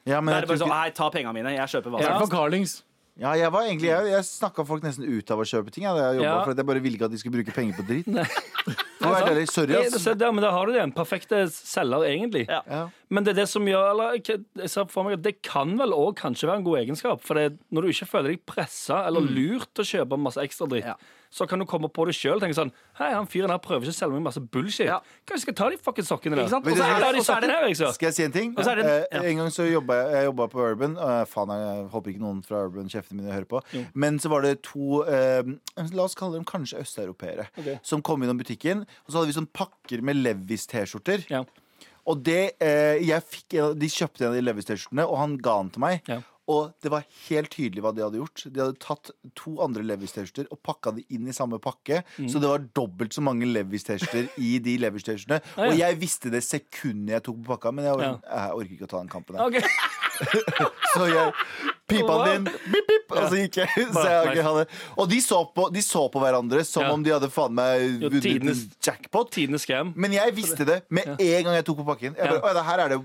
B: Ja, men
E: Da
B: jeg
E: er det bare
B: tror
E: sånn
B: ikke-
E: Nei, ta penga mine. Jeg kjøper hva
F: I
E: som helst.
F: hvert fall Carlings.
B: Ja, jeg var egentlig Jeg, jeg snakka folk nesten ut av å kjøpe ting. Jeg, da jeg, jobbet,
C: Ja.
B: for at jeg bare ville ikke at de skulle bruke penger på dritt. For å være ærlig, sorry,
C: Ja,
B: ass.
C: se der, men da har du det. En perfekte selger, egentlig.
E: Ja.
B: Ja.
C: Men det er det som gjør eller, jeg- jeg ser for meg at det kan vel òg kanskje være en god egenskap. For det, når du ikke føler deg pressa eller lurt til å kjøpe masse ekstra dritt,
E: Ja.
C: så kan du komme på det sjøl og tenke sånn Hei, han fyren her prøver ikke å selge meg masse bullshit.
E: Ja.
C: Kanskje jeg skal ta de fucking sokkene der.
E: Ikke sant?
C: Og så er det, de
E: og så er det-
C: sokkene her, liksom.
B: Skal jeg si en ting?
E: så er det-
B: Eh, En gang så jobba jeg, jeg jobbet på Urban. eh, faen, jeg håper ikke noen fra Urban kjeftene mine hører på. Men så var det to eh, La oss kalle dem kanskje østeuropeere. Som kom innom butikken. Og så hadde vi sånn pakker med Levis-T-skjorter.
C: Ja.
B: Og det, eh, jeg fikk, en av- de kjøpte en av de Levis-T-skjortene, og han ga den til meg.
C: Ja.
B: Og det var helt tydelig hva de hadde gjort. De hadde tatt to andre Levis-T-skjorter og pakka de inn i samme pakke.
C: Mm.
B: Så det var dobbelt så mange Levis-T-skjorter i de Levis-T-skjortene.
C: ja.
B: Og jeg visste det sekundet jeg tok på pakka, men jeg, sånn,
C: Ja.
B: jeg orker ikke å ta den kampen. her.
C: Ok.
B: Så jeg pipa
C: Wow.
B: den inn, bip, bip, og så gikk jeg. Så jeg
C: nice.
B: ikke hadde. Og de så, på, de så på hverandre som
C: Ja.
B: om de hadde faen meg
C: Jo,
B: vunnet en
C: tidenes-
B: jackpot.
C: Tidenes scam.
B: Men jeg visste det med en gang jeg tok på pakken. Jeg bare,
C: Ja.
B: «Å, det her er det jo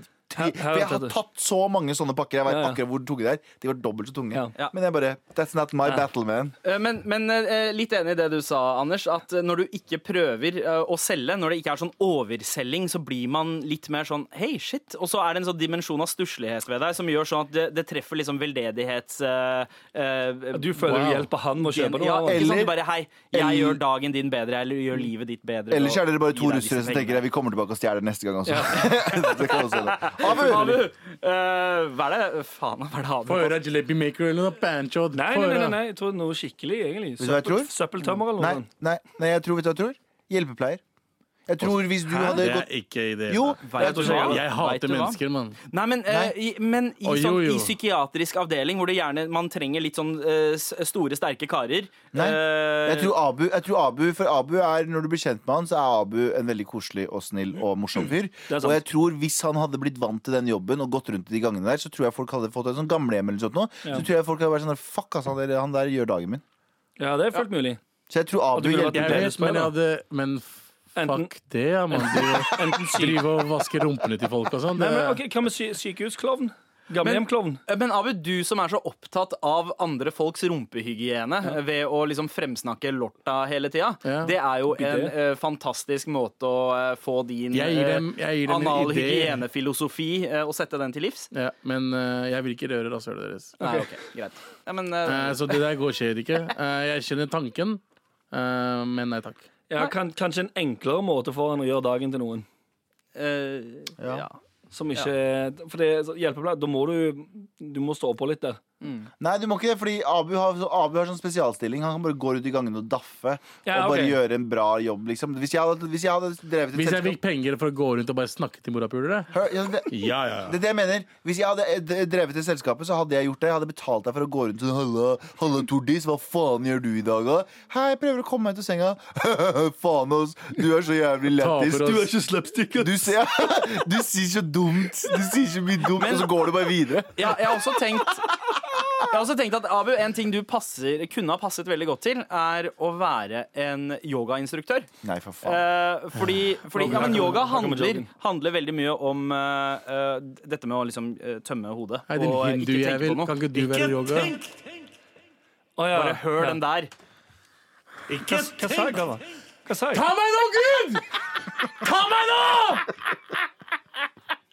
B: tre.
C: Her- her
B: For jeg
C: vet
B: har
C: jeg det.
B: tatt så mange sånne pakker. Jeg vet
C: Ja, ja.
B: akkurat hvor tunge de er. De var dobbelt så tunge.
C: Ja.
E: Ja.
B: Men jeg bare That's not my
C: Ja.
B: battle, man.
E: Eh, Men, men eh, litt enig i det du sa, Anders. At eh, når du ikke prøver eh, å selge, når det ikke er sånn overselging, så blir man litt mer sånn hei, shit. Og så er det en sånn dimensjon av stusslighet ved deg som gjør sånn at det, det treffer liksom veldedighets... eh, eh,
C: Du føler
E: wow.
C: du hjelper han med å kjøpe
E: Ja,
C: noe.
E: ikke sant?
B: Eller-
E: Du bare hei, jeg
B: eller-
E: gjør dagen din bedre, eller gjør livet ditt bedre.
B: Ellers er dere bare to
E: Gi deg disse
B: russere som tenker
E: pengene.
B: at vi kommer tilbake og stjeler neste gang også. det kan også være.
E: Abu,
B: Abu!
E: eh, hva er det Faen, hva er det Abu
F: Få høre Jalebi Maker eller noe Bancho.
C: Nei, nei, nei, nei, nei, jeg tror noe skikkelig, egentlig.
B: du hva jeg
C: Søppel,
B: tror?
C: søppeltømmer eller noe
B: Nei,
C: sånt.
B: nei, nei, jeg tror, vet du hva jeg tror? Hjelpepleier. Jeg tror hvis du hadde
F: Det er
B: gått
F: ikke i det.
B: Jo,
F: hele tatt.
E: Vet
B: jeg
E: du
B: tror
E: hva?
F: jeg
E: Vet du
F: hater
E: hva?
F: mennesker, mann.
E: Nei, men, eh, i, men i,
F: Å, jo,
E: sånn,
F: jo.
E: i psykiatrisk avdeling, hvor det gjerne, man trenger litt sånn eh, s- store, sterke karer
B: Nei,
E: eh,
B: Jeg tror Abu, jeg tror Abu For Abu er, når du blir kjent med han Så er Abu en veldig koselig og snill og morsom fyr
C: er sant.
B: Og jeg tror hvis han hadde blitt vant til den jobben Og gått rundt i de gangene der Så tror jeg folk hadde fått en sånn gamlehjem eller sånt nå Så tror jeg folk hadde vært sånn der, Fuck ass, han der, han der gjør dagen min
C: Ja, det er fullt mulig.
B: Så jeg tror Abu
C: du ville vært
B: hjelper
C: bedre
F: Jeg vet, men jeg
C: spiller.
F: hadde Men f-
C: Enten-
F: fuck det, ja, mann. Drive-
C: Enten syk...
F: Drive og vaske rumpene til folk og sånn.
C: Nei,
F: det-
C: men, ok, Hva med sy sykehusklovn? Gamlehjemklovn?
E: Men Abu, du som er så opptatt av andre folks rumpehygiene ved å liksom fremsnakke lorta hele tida,
F: Ja.
E: det er jo en
C: det.
E: eh, fantastisk måte å eh, få din
F: Jeg gir dem- jeg gir dem en idé.
E: analhygienefilosofi uh, og sette den til livs.
F: Ja, men eh, jeg vil ikke røre rasshølet deres.
E: Nei, ok, greit. Ja, men, eh,
F: Eh, så det der går skjer ikke. Eh, jeg skjønner tanken, eh, men nei takk.
C: Ja, kan, kanskje en enklere måte for han å gjøre dagen til noen.
E: eh, ja.
C: Som ikke For det er så- hjelpepleier, da må du Du må stå på litt der.
B: Nei, du må ikke det Fordi Abu har, så, Abu har sånn spesialstilling Han kan bare gå rundt i gangen og daffe Og
C: Ja, ok.
B: bare gjøre en bra jobb liksom Hvis jeg hadde, hvis jeg hadde drevet et
F: Hvis jeg
B: selskap
F: fikk penger for å gå rundt og bare snakke til morapulere
B: Hør, ja, det-
F: ja, ja,
B: Det er det jeg mener. Hvis jeg hadde eh, d- drevet til selskapet, så hadde jeg gjort det. Jeg hadde betalt deg for å gå rundt sånn Halla, halla Tordis, hva faen gjør du i dag, da? Hei, jeg prøver å komme meg ut av senga. faen, ass. Du er så jævlig lættis.
F: Taper, ass.
B: Du er så slapstick. ass. Du, ser, du sier så dumt. Du sier så mye dumt, og så går du bare videre.
E: Ja, jeg har også tenkt jeg har også tenkt at Abu, En ting du passer, kunne ha passet veldig godt til, er å være en yogainstruktør.
B: Nei, for faen.
E: Eh, fordi fordi ja, men yoga
C: Her kommer
E: handler,
C: joggen.
E: handler veldig mye om eh, eh, dette med å liksom eh, tømme hodet
F: Hei, din
E: og eh,
F: hindu
E: ikke
F: jeg
E: tenke
F: vil.
E: på noe.
F: Kan ikke du være yoga?
C: Å, ja.
E: Bare hør den der.
C: Hva, hva sa jeg, Gamma? Hva sa jeg?
F: Ta meg nå, Gud! Ta meg nå!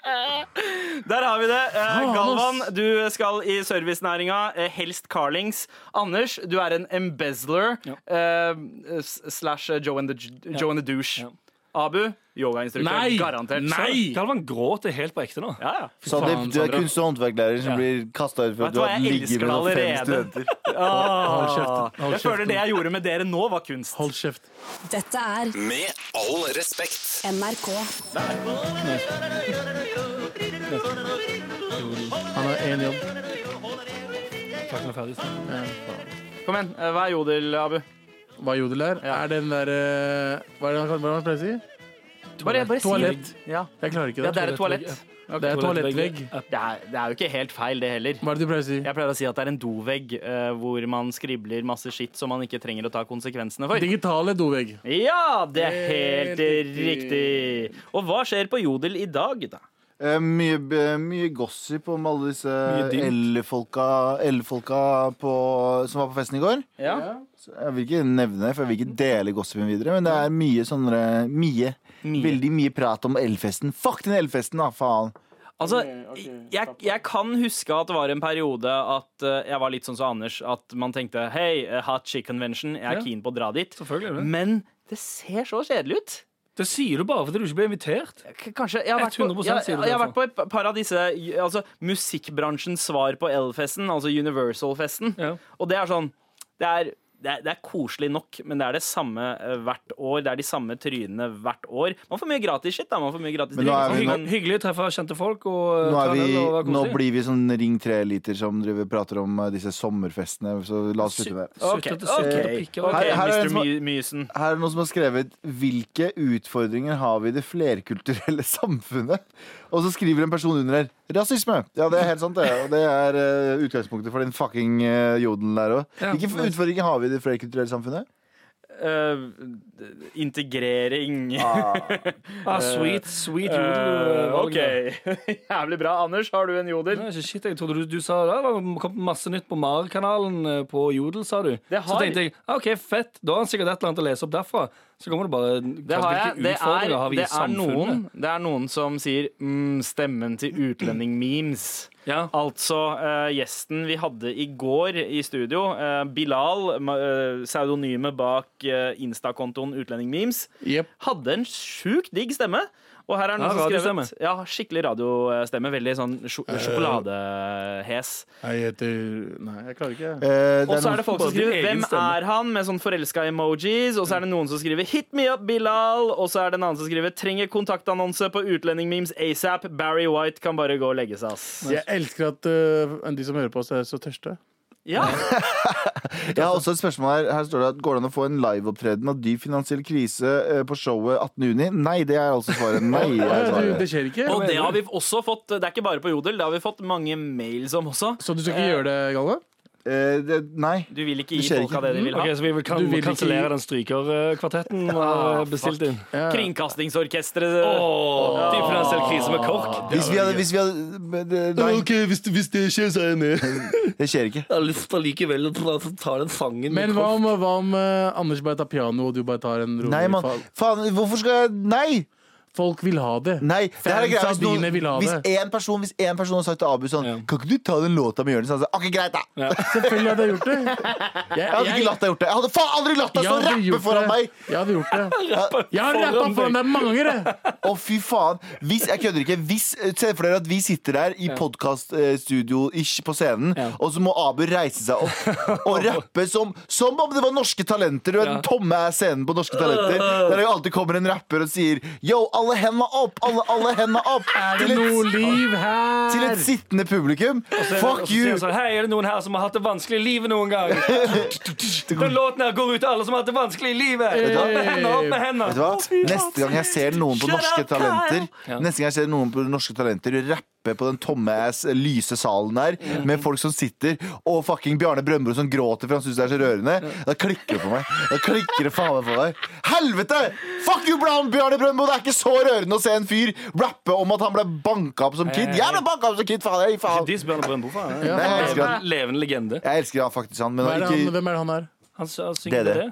E: Der har vi det. Eh,
F: ass.
E: Galvan, du skal i servicenæringa, eh, helst Carlings. Anders, du er en embezzler eh, s- slash eh, Joe and the, J- Joe and the Douche.
C: Ja.
E: Abu, yogainstruktør.
F: Nei!
E: Garantert.
F: Nei!
C: Galvan gråter helt på ekte nå.
E: Ja, ja.
B: Så det, du er kunst- og håndverklærer som
C: Ja.
B: blir kasta ut for
E: Vet
B: at
E: du
B: du
E: hva,
B: har
E: jeg
B: ligget
E: elsker
B: med
E: det
B: noen fem
E: allerede.
B: studenter.
F: Ah, Hold kjeft. Hold
E: Ah. Jeg føler
F: kjeft.
E: det jeg gjorde med dere nå, var kunst.
F: Hold kjeft.
D: Dette er
A: Med all respekt.
D: NRK.
F: Han har én jobb.
C: Takk, nå er jeg ferdig.
F: Ja, faen.
E: Kom igjen. eh, Hva er jodel, Abu?
F: Hva jodel er? Er den der eh, Hva er det han, hva er det han pleier å si?
E: Bare, bare si det.
F: Toalett.
E: Ja.
F: Jeg klarer ikke
E: ja,
F: det.
E: det er et toalett.
F: Det er toalettvegg.
E: Det er, det er jo ikke helt feil, det heller.
F: Hva er det du pleier å si?
E: Jeg pleier å si at det er en dovegg eh, hvor man skribler masse skitt som man ikke trenger å ta konsekvensene for.
F: Digitale dovegg.
E: Ja, det er helt
F: Helt
E: riktig. Og hva skjer på Jodel i dag, da?
B: Eh, Mye, b- mye gossip om alle disse
C: dymt.
B: L-folka L-folka på- som var på festen i går.
E: Ja.
B: Jeg vil ikke nevne det, for jeg vil ikke dele gossipen videre, men det er mye sånne Mye.
E: Mye.
B: Veldig mye prat om elfesten. Fuck den elfesten, da, faen!
E: Altså, jeg, jeg kan huske at det var en periode at eh, jeg var litt sånn som Anders, at man tenkte hei, eh, hot chick convention, jeg er
C: Ja.
E: keen på å dra dit.
C: Selvfølgelig er det.
E: Men det ser så kjedelig ut.
C: Det sier du bare fordi du ikke ble invitert.
E: K- Kanskje, jeg har vært, på,
C: 100%
E: jeg,
C: sier du det,
E: jeg har vært på et par av disse altså, Musikkbransjens svar på L-festen, altså Universal-festen.
C: Ja.
E: Og det er sånn Det er det, er, det er koselig nok, men det er det samme eh, hvert år. Det er de samme trynene hvert år. Man får mye gratis shit, da. Man får mye gratis
B: Men nå
E: drikke,
B: er vi
E: sånn,
B: nå-
E: men-
C: Hyggelig å treffe kjente folk. Og,
B: Nå, er
C: ta den og være
B: vi, nå
C: koselig.
B: blir vi sånn Ring 3-eliter som driver, prater om eh, disse sommerfestene, så la oss slutte med det.
E: Ok,
C: Suttete, suttete
E: ok.
C: pikker.
E: Ok,
B: Her- her er en
E: Mr.
B: som-
E: My- Mysen.
B: Her er noen som har skrevet 'Hvilke utfordringer har vi i det flerkulturelle samfunnet?' Og så skriver en person under her 'Rasisme'. Ja, det er helt sant, det. Og det er eh, utgangspunktet for den fucking uh, jodelen der òg.
C: Ja.
B: Hvilke f- utfordringer har vi i det flerkulturelle samfunnet?
E: Eh, integrering.
C: Ah, sweet, sweet
E: Eh,
C: jodel.
E: OK. Jævlig bra. Anders, har du en jodel?
C: Nei, ikke shit, jeg trodde du, du sa det. Det kom masse nytt på MAR-kanalen eh, på Jodel, sa du.
E: Det har-
C: Så tenkte jeg ah, OK, fett. Da har han sikkert et eller annet å lese opp derfra. Så kommer det bare
E: Det har jeg.
C: hvilke
E: Det er,
C: utfordringer har vi i
E: det er,
C: samfunnet.
E: noen, det er noen som sier mm, 'stemmen til utlending-memes'.
C: Ja.
E: Altså eh, gjesten vi hadde i går i studio, eh, Bilal, ma- eh, pseudonyme bak eh, Insta-kontoen Utlendingmemes,
F: Jep.
E: hadde en sjukt digg stemme. Og her er den
C: Ja,
E: som
C: radiostemme. Eh,
E: skrevet ja, Skikkelig radiostemme. Veldig sånn sjo sjokoladehes.
F: Jeg heter Nei, jeg klarer ikke. jeg.
B: Eh, det
E: Og så
B: noen-
E: er det folk som
C: Bare din
E: skriver
C: egen
E: 'Hvem
C: stemme.
E: er han?' med sånn forelska emojis. Og så er det noen som skriver 'Hit me up, Bilal'. Og så er det en annen som skriver 'Trenger kontaktannonse på utlendingmemes asap'. Barry White kan bare gå og legge seg, ass.
F: Jeg elsker at øh, de som hører på oss, er så tørste.
E: Ja.
B: Jeg har også et spørsmål her. Her står det at Går det an å få en liveopptreden av dyp finansiell krise eh, på showet 18.6? Nei, det er altså svaret. Nei, er
F: Ja, du,
B: svaret.
F: det skjer ikke.
E: Og det har vi også fått, det er ikke bare på Jodel, det har vi fått mange mails om også.
F: Så du skal ikke gjøre det, Galve?
B: Eh, det, nei.
E: Du vil ikke
B: Det
E: gi
B: skjer
E: folk av det de vil ha.
C: Ok, Så vi vil kan,
F: Du vil ikke gi-
C: kansellere den strykerkvartetten vi har bestilt inn?
F: Ja.
E: Kringkastingsorkestret eh,
C: Oh, Dyp finansiell krise med KORK.
B: Hvis vi hadde, hvis vi hadde men det- Nei,
F: Ok, hvis, det skjer, så er jeg med.
B: det skjer ikke.
C: Jeg har lyst til allikevel å ta den sangen
F: Men hva om, hva om øh, Anders bare tar piano, og du bare tar en rolig
B: Nei, mann.
F: fall?
B: Faen, hvorfor skal jeg Nei!
F: Folk vil ha det.
B: Nei, det her er
F: Fans
B: greia
F: av
B: Hvis, noen,
F: dine vil ha
B: hvis,
F: det.
B: en person, hvis en person har sagt til Abu sånn
C: Ja.
B: Kan ikke du ta den låta med Jonis? Han sa OK, greit, da. Jeg
F: Selvfølgelig hadde jeg gjort det. Jeg,
B: hadde ikke latt deg gjort det. Jeg hadde faen aldri latt deg stå
F: jeg
B: og
F: hadde
B: rappe
F: gjort
B: altså, foran
F: det.
B: meg!
F: Jeg hadde gjort det. Jeg har rappa
C: foran
F: foran deg mange ganger. jeg.
B: Å, fy faen. Hvis, jeg kødder ikke. Hvis, se for dere at vi sitter der i podkaststudio-ish på scenen,
C: Ja.
B: og så må Abu reise seg opp og rappe som, som om det var norske talenter. Du vet den tomme er scenen på Norske Talenter. Der det jo alltid kommer en rapper og sier Yo, alle henda opp! Alle, alle henda opp!
F: Er
B: Til
F: det noe
B: et,
F: liv her?
B: til et sittende publikum. Fuck you!
C: Sånn, Hei, er det noen her som har hatt det vanskelig i livet noen gang? Den låten her går ut til alle som har hatt det vanskelig i livet. Opp med hendene, opp med
B: Vet
C: hendene.
B: du hva? Neste gang jeg ser noen på
E: Shut
B: Norske
E: up, Kyle!
B: Talenter Neste gang jeg ser noen på Norske Talenter rappe på den tomme ass lyse salen der, med folk som sitter og fucking Bjarne Brøndbro som gråter for han syns det er så rørende, da klikker det for meg. Da klikker det faen meg for meg. Helvete! Fuck you, Brown, Bjarne Brøndbo! Det er ikke så rørende å se en fyr rappe om at han ble banka opp som kid. Jeg ble banka opp som kid, faen! Jeg, faen.
C: De spør om Brøndbo, faen.
B: Nei, jeg elsker han.
C: Levende legende.
B: Jeg elsker han faktisk, han. Men
F: Hva er det han,
B: ikke,
F: hvem er det han er?
C: Han s- han
B: Det er
C: synger det.
B: det.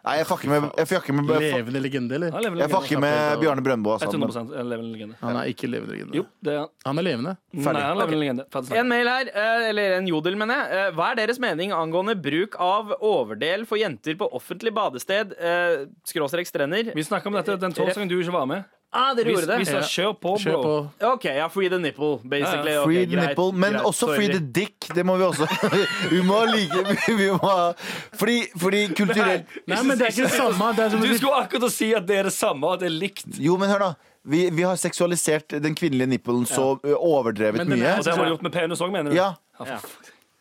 B: nei, jeg fucker med, jeg fucker med, jeg fucker-
F: Levende legende,
C: Han
F: eller?
C: er levende
B: jeg
C: legende.
B: fucker med Bjarne Brøndbo. altså.
C: 100 en eh, levende legende.
F: Han er ikke levende legende.
C: Jo, det er han.
F: Han er levende.
C: Nei, han er levende legende. Ferdig snakk.
E: En mail her, eh, eller en jodel, mener jeg. Eh, Hva er deres mening angående bruk av overdel for jenter på offentlig badested, eh, skråstrek strender?
C: Vi snakka om dette den torsdagen du ikke var med.
E: Ah, dere
C: Vi,
E: gjorde
C: vi
E: det.
C: sa kjør på,
F: Kjør på.
C: bro.
E: OK, ja, free the nipple, basically.
C: Ja,
E: Ok,
B: Free the
E: greit,
B: nipple, men
E: greit,
B: også
E: sorry.
B: free the dick. Det må vi også. Vi må like vi må ha, fordi, fordi kulturelt
F: Nei, men det er ikke det samme. Det er
C: Du
F: som å si-
C: skulle akkurat å si at det er det samme, og at det er likt.
B: Jo, men hør, da. Vi, vi har seksualisert den kvinnelige nippelen så ø, overdrevet
F: Men den
B: mye.
F: sånn, er-
C: Og det har man gjort med penis òg, mener du?
B: Ja.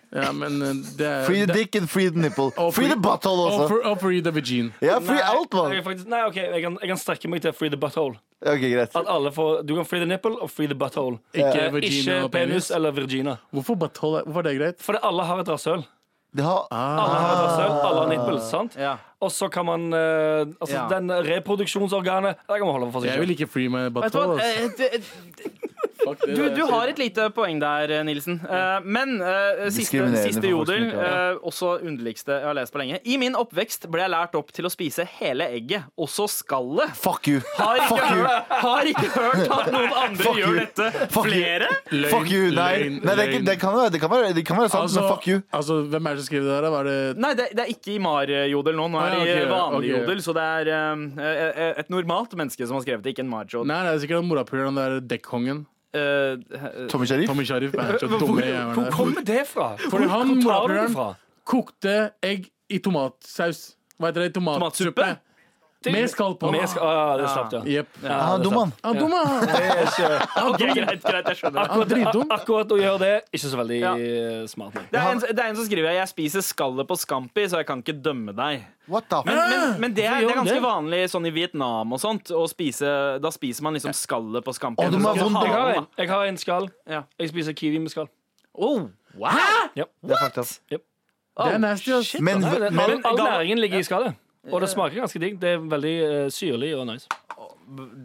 F: Ja, men eh, det er
B: Free the
F: det-
B: dick and free the nipple.
F: Og
B: Free the butthole
F: Og
B: også.
F: free- og free the vagine.
B: Ja, free alt,
C: jeg
B: mann.
C: er faktisk, nei, ok, jeg kan, jeg kan strekke meg til free the butthole.
B: Ok, greit.
C: At alle får, du kan free the nipple og free the butthole.
F: Ikke
C: Eh,
F: vagina
C: ikke
F: og penis.
C: eller virgina.
F: Hvorfor butthole? Hvorfor er det greit?
C: Fordi alle har et rasshøl.
B: Det har,
C: Alle har et rasshøl, alle har nipple. sant?
E: Ja.
C: Og så kan man eh, Altså,
E: Ja.
C: den reproduksjonsorganet Der kan man holde for seg
F: Jeg vil
C: selv.
F: ikke free my
E: Vet du hva?
F: butthole. ass.
E: Eh, det-
F: Fuck det,
E: Du,
F: det er
E: du
F: så-
E: har et lite poeng der, eh, Nilsen. Eh, Men eh, siste,
B: Diskriminerende
E: siste
B: for folk som
E: jodel,
B: ikke har
E: eh, også underligste jeg har lest på lenge. I min oppvekst ble jeg lært opp til å spise hele egget, også skallet.
B: fuck you.
E: Har ikke,
B: Fuck you.
E: hørt, har ikke hørt at noen andre
B: Fuck
E: gjør
B: you.
E: dette.
B: Fuck you.
E: Flere?
B: Fuck you. Nei,
F: løgn,
B: Nei det, er ikke-
F: løgn.
B: det, kan, være- det, kan være, det kan være sant,
F: Altså,
B: men fuck you.
F: altså, hvem er det som skrev det der? da? Var det
E: Nei, det, det er ikke i Mar-jodel nå. Nå er det i
F: Ah, ok,
E: vanlig
F: ok.
E: jodel. Så det er eh, et normalt menneske som har skrevet det, ikke en Mar-jodel.
F: Nei, det er sikkert morapuleren der dekkongen.
E: Eh,
B: Tommy Sharif.
F: Tommy Sharif. er så dumme jævla
C: Hvor
F: der.
C: kommer det fra? Hvor,
F: Fordi han
C: hvor tar du det
F: morapuleren
C: fra?
F: kokte egg i tomatsaus. Hva heter det? Tomatsuppe.
E: Tomatsuppe?
F: Med skall på.
C: Vi skal, ah, det slapp, ja.
F: Jepp.
C: Ja,
B: Han er
C: det
B: dum,
C: slapp.
B: han.
F: Han dum, han.
E: Ok, greit, greit, jeg skjønner det.
F: Han er dritdum.
C: Akkurat å gjøre det, ikke så veldig
E: Ja.
C: eh, smart. nei.
E: Det er, en, det er en som skriver Jeg spiser skallet på Scampi, så jeg kan ikke dømme deg.
B: What the
E: Men, men, men det, er,
C: Hvorfor
E: det er
C: gjør
E: ganske
C: det?
E: vanlig sånn i Vietnam og sånt. Å spise, da spiser man liksom skallet på Scampi.
B: Å, du må ha vondt
C: Jeg har
E: Ha-
C: en, jeg har en skall.
E: Ja.
C: Jeg spiser kiwi med skall.
E: Oh, wow.
B: Det er fucked up.
F: Det er nasty, ass.
B: Men,
C: Men
B: men
C: all
E: Gal-
C: næringen ligger i skallet. Og det smaker ganske digg. Det er veldig eh, syrlig og nice.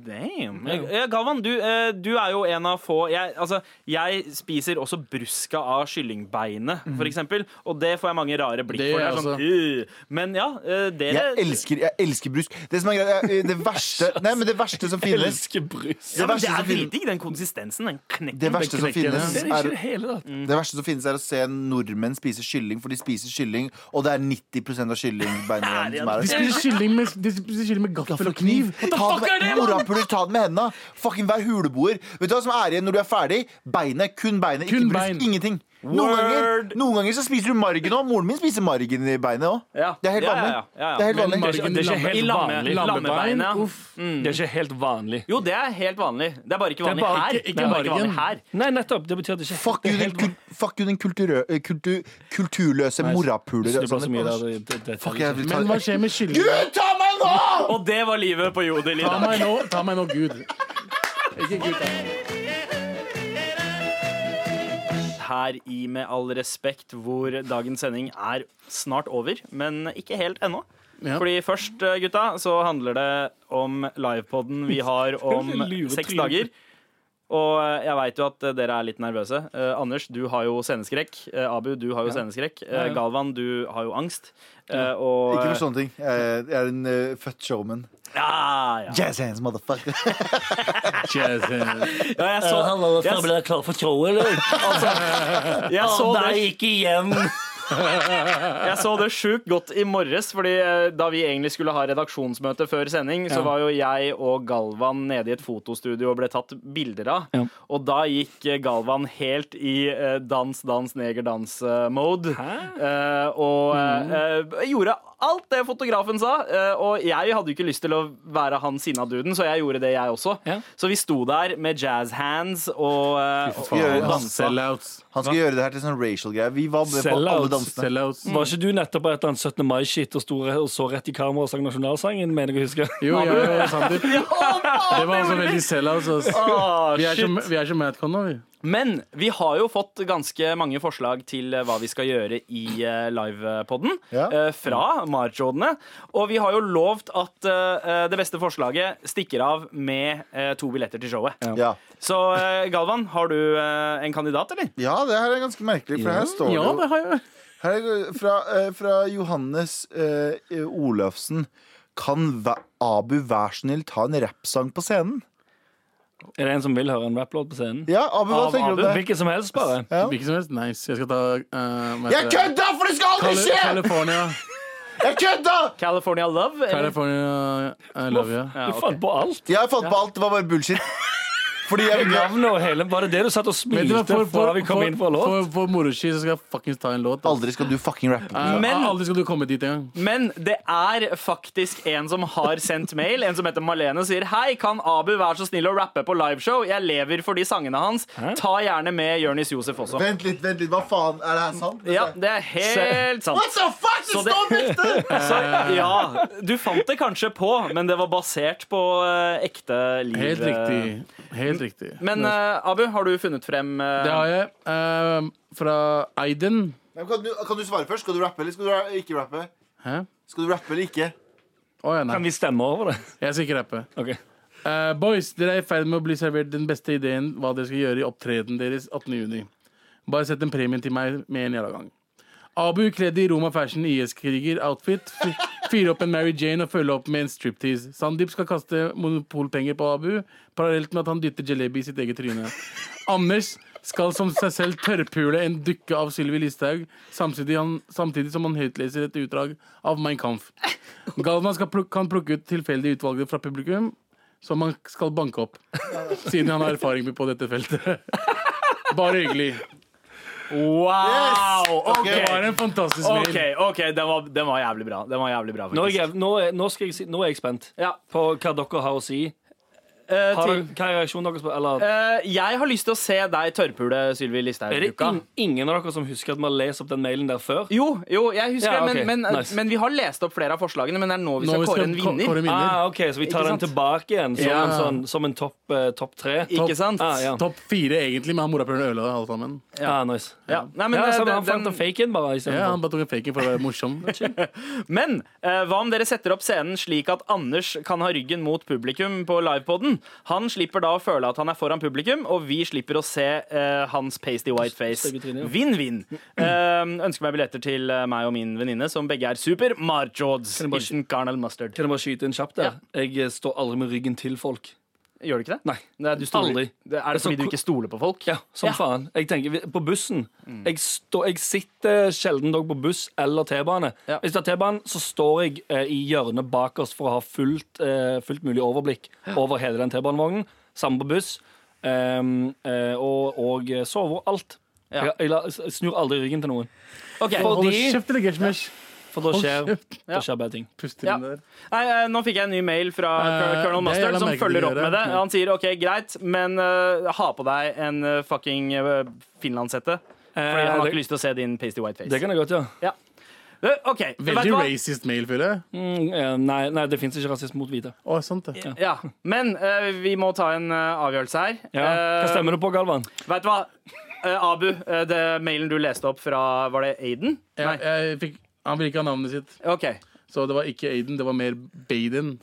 E: Damn. Jeg, jeg, Galvan, du, eh, du er jo en av få jeg, altså, jeg spiser også bruska av kyllingbeinet,
B: Mhm.
E: for eksempel. Og det får jeg mange rare blikk
F: Det
E: for. Det
F: gjør
E: er sånn, «Øh». Men ja, eh, dere
B: jeg elsker, jeg elsker brusk. Det som er greit, er- det verste Nei, men det verste som finnes
C: brus.
B: det
E: ja, men
B: verste
E: Det
B: som
E: er
B: finnes,
E: dritdigg, den konsistensen. Den knekken.
B: det verste som finnes
C: Det er ikke
B: er
C: det hele tatt.
B: Det verste som finnes er å se nordmenn spise kylling, for de spiser kylling, og det er 90 av kyllingbeina igjen som
F: De
B: er
F: spiser kylling med, de spiser kylling med gaffel og kniv.
B: Ta det med, morapuler, ta det med hendene. Fucking vær huleboer. Vet du hva som er igjen når du er ferdig? Beinet. Kun beinet. Ikke
F: Kun
B: brust.
F: bein.
B: Ingenting. Noen ganger,
E: Word.
B: noen ganger så spiser du margen òg. Moren min spiser margen i beinet òg.
E: Ja.
B: Det er helt
E: Ja, ja,
B: vanlig.
E: ja, ja, ja.
B: Det er helt
F: Men
B: vanlig.
F: margen
C: Det er ikke helt
E: I lamme-
C: vanlig.
E: lamme-
F: Lammebein.
E: Lammebeinet.
F: Uff.
C: Det er ikke helt vanlig.
E: Jo, det er helt vanlig. Det er bare ikke
C: er
E: vanlig
C: bare
E: her.
F: ikke- ikke
E: det er bare ikke vanlig
F: margen.
E: her.
C: Nei, nettopp. Det betyr at det ikke
B: Fuck
C: det
B: you,
C: er
B: den,
C: helt
B: kul fuck you, den kulturø- eh, kultu kulturløse morapuler.
C: vanlig. Det blir så mye
B: Sånn,
C: der, det- det- det-
B: Fuck, jeg vil ta
F: Men hva skjer med kylling?
B: Gud, ta meg nå!
E: Og det var livet på Jodel i
F: Ta
E: dag.
F: meg nå, ta meg nå Gud. Ikke Gud, da.
E: Her i Med all respekt, hvor dagens sending er snart over, men ikke helt ennå.
F: Ja.
E: Fordi først, eh, gutta, så handler det om livepoden vi har om
C: Lure
E: seks
C: trynet.
E: dager. Og eh, jeg veit jo at dere er litt nervøse. Eh, Anders, du har jo sceneskrekk. Eh, Abu, du har jo sceneskrekk. Eh, Galvan, du har jo angst. Eh, og
B: Ikke for sånne ting. Jeg er en eh, født showman.
E: Ja, ja.
B: Jazz hands, motherfucker.
F: Jesus.
E: ja jeg så, jeg,
C: Ble jeg klar for showet, eller?
E: jeg så det
C: ikke igjen.
E: Jeg så det sjukt godt i morges, fordi eh, da vi egentlig skulle ha redaksjonsmøte før sending, så var jo jeg og Galvan nede i et fotostudio og ble tatt bilder av.
C: Ja.
E: Og da gikk eh, Galvan helt i eh, dans, dans, negerdans-mode. og
C: Mm.
E: eh, eh, gjorde alt det fotografen sa. eh, og jeg hadde jo ikke lyst til å være han sinna duden, så jeg gjorde det, jeg også.
C: Ja.
E: Så vi sto der med jazz hands og, eh, og, og dansa.
F: Sellouts.
B: Han skulle gjøre det her til sånn racial greie. Vi var med på alle
C: Sellouts.
B: dansene.
F: Sellouts.
C: Var ikke du nettopp på et eller annet 17. mai-shit og, sto re- og så rett i kamera og sang nasjonalsangen? mener jeg å huske?
F: Jo, ja, ja, ja, Sander. Det var også veldig sellouts. ass.
E: Ah,
F: Vi er
E: shit.
F: som, vi er som Madcon nå, vi.
E: Men vi har jo fått ganske mange forslag til eh, hva vi skal gjøre i eh, livepodden
B: Ja.
E: eh, fra Marjodene. Og vi har jo lovt at eh, det beste forslaget stikker av med eh, to billetter til showet.
B: Ja.
E: Så eh, Galvan, har du eh, en kandidat, eller?
B: ja, det her er ganske merkelig, for her står det
F: Ja,
B: jo
F: det har jeg.
B: her er, fra, eh, fra Johannes eh, Olafsen. Kan væ- Abu vær så snill ta en rappsang på scenen?
C: Er det en som vil høre en rapplåt på scenen?
B: Ja, Abu, hva
E: Av
B: tenker du om det?
C: Hvilken som helst, bare.
B: Ja.
F: Hvilken som helst. Nice. Jeg skal ta eh, hva
B: Jeg
F: heter det?
B: kødda, for det skal aldri
F: Cali-
B: skje!
F: California.
B: Jeg kødda!
E: California Love? eller?
F: California, I love you.
E: Ja,
C: Du
E: ok.
C: fant på alt.
B: Jeg fant på alt. Det var bare bullshit. Fordi jeg ville
C: Navnet og hele Var det det du satt og
F: Vet du
C: smilte
F: hva, for,
C: fra
F: for,
C: vi kom inn for
F: for,
C: låt?
F: for, for moro skyld så skal jeg fuckings ta en låt. ass.
B: Aldri skal du fucking rappe.
F: Eh,
E: Men-
F: Aldri skal du komme dit engang.
E: Men det er faktisk en som har sendt mail, en som heter Malene, og sier Hei, kan Abu være så snill å rappe på liveshow? Jeg lever for de sangene hans. Ta gjerne med Jonis Josef også.
B: Vent litt, vent litt. Hva faen? Er det her sant?
E: Ja, det er helt sant.
B: What the fuck? Det
E: Så det-
B: står på ekte!
E: Så, ja, du fant det kanskje på, men det var basert på eh, ekte liv. eh.
F: Helt riktig. Helt riktig.
E: Men eh, Abu, har du funnet frem eh,
F: det har jeg. eh, fra Aiden.
B: Men Kan du, kan du svare først? Skal du rappe eller skal du ra- ikke rappe?
F: Hæ?
B: Skal du rappe eller ikke?
F: Å ja,
C: Kan
F: nei.
C: vi stemme over det?
F: Jeg skal ikke rappe.
C: Ok.
F: Eh, boys, dere er i ferd med å bli servert den beste ideen hva dere skal gjøre i opptredenen deres 18.6. Bare sett en premie til meg med en jævla gang. Abu kledd i Roma Fashion IS-kriger-outfit. Fyre opp en Mary Jane og følge opp med en striptease. Sandeep skal kaste monopolpenger på Abu, parallelt med at han dytter jalebi i sitt eget tryne. Anders skal som seg selv tørrpule en dukke av Sylvi Listhaug, samtidig, han, samtidig som han høytleser et utdrag av Mein Kampf. Galvan skal pluk kan plukke ut tilfeldige utvalgte fra publikum, som han skal banke opp. Siden han har erfaring på dette feltet. Bare hyggelig.
E: Wow! OK,
F: Det var en fantastisk
E: ok,
F: mail.
E: ok, den var, den var jævlig bra. Den var jævlig bra,
C: Nå er
E: faktisk.
C: jeg, nå er, nå skal jeg, si, nå er jeg spent
E: Ja.
C: på hva dere har å si.
E: Eh,
C: Har,
E: til,
C: dere- hva er reaksjonen deres på eller,
E: eh, jeg har lyst til å se deg tørrpule Sylvi Listhaug.
C: Er det
E: Luka.
C: in, ingen av dere som husker at vi har lest opp den mailen der før?
E: Jo, jo, jeg husker
C: Ja,
E: det,
C: ok,
E: men, men,
C: nice.
E: men vi har lest opp flere av forslagene. Men det er nå vi
F: Nå
E: skal
F: vi
E: kåre
F: skal
E: en
F: kå-
E: vinner.
F: kåre en vinner.
C: Ah, ok, Så vi tar
E: Ikke
C: den
E: sant?
C: tilbake igjen som
F: Ja.
C: en, sånn, som en topp eh, topp tre?
E: Ikke sant?
C: Ah, ja.
F: Topp fire, egentlig, men han morapuleren ødela det, alle sammen.
C: Ah, nice.
E: Ja. Nei, men,
C: ja,
E: eh,
C: så
E: den-
C: han fant en fake in, bare. i stedet
F: Ja,
C: for.
F: Han bare tok en faking for å være morsom.
E: Men eh, hva om dere setter opp scenen slik at Anders kan ha ryggen mot publikum på livepoden? Han slipper da å føle at han er foran publikum, og vi slipper å se eh, hans pasty white face.
C: Stygge trynet, ja.
E: Vinn-vinn. Eh, ønsker meg billetter til eh, meg og min venninne, som begge er super marjods.
C: jeg bare-
E: Hilsen Carnal Mustard.
C: Kan jeg bare skyte inn kjapt der? Jeg eh, står aldri med ryggen til folk.
E: Gjør du ikke det?
C: Nei.
E: Nei, du stoler-
C: Aldri.
E: Det- Er det
C: Altså,
E: fordi du
C: ko-
E: ikke stoler på folk?
C: Ja, som faen. Jeg tenker, vi- På bussen jeg, står- jeg sitter sjelden dog på buss eller T-bane.
E: Ja.
C: Hvis det er T-banen, så står jeg eh, i hjørnet bak oss for å ha fullt, eh, fullt mulig overblikk over hele den T-banevognen. Samme på buss. Ehm, eh, og, og sover alt.
E: Ja.
C: Jeg, jeg, la- jeg snur aldri ryggen til noen.
E: Ok.
F: Hold
C: Fordi-
F: kjeft, eller Gershmesh.
C: For da
F: Hold
C: skjer,
F: kjeft.
C: da skjer bedre ting.
F: Pust
E: Ja.
F: inn der.
E: Nei, eh, Nå fikk jeg en ny mail fra
F: Eh,
E: Colonel
F: det er
E: Mustard
F: jævla
E: som
F: merkelig
E: følger
F: å
E: opp
F: gjøre. Mm.
E: med det. Han sier OK, greit, men eh, ha på deg en eh, fucking eh, finlandshette. Fordi
F: Eh,
E: han har
C: Eh, det-
E: ikke lyst til å se din pasty white face.
C: Det kan jeg godt gjøre.
E: ja. Eh, OK. vet du
F: Veldig
E: hva?
F: racist mail, føler jeg.
C: Mm, eh, nei, nei, det fins ikke rasisme mot hvite.
F: Å, sant det.
E: Ja, Men eh, vi må ta en eh, avgjørelse her. Eh,
C: Ja. Hva stemmer det på, Galvan?
E: Vet du hva? Eh, Abu, eh, det mailen du leste opp fra Var det Aiden?
F: Jeg, jeg fikk, han ville ikke ha navnet sitt,
E: OK.
F: så det var ikke Aiden, det var mer Baden.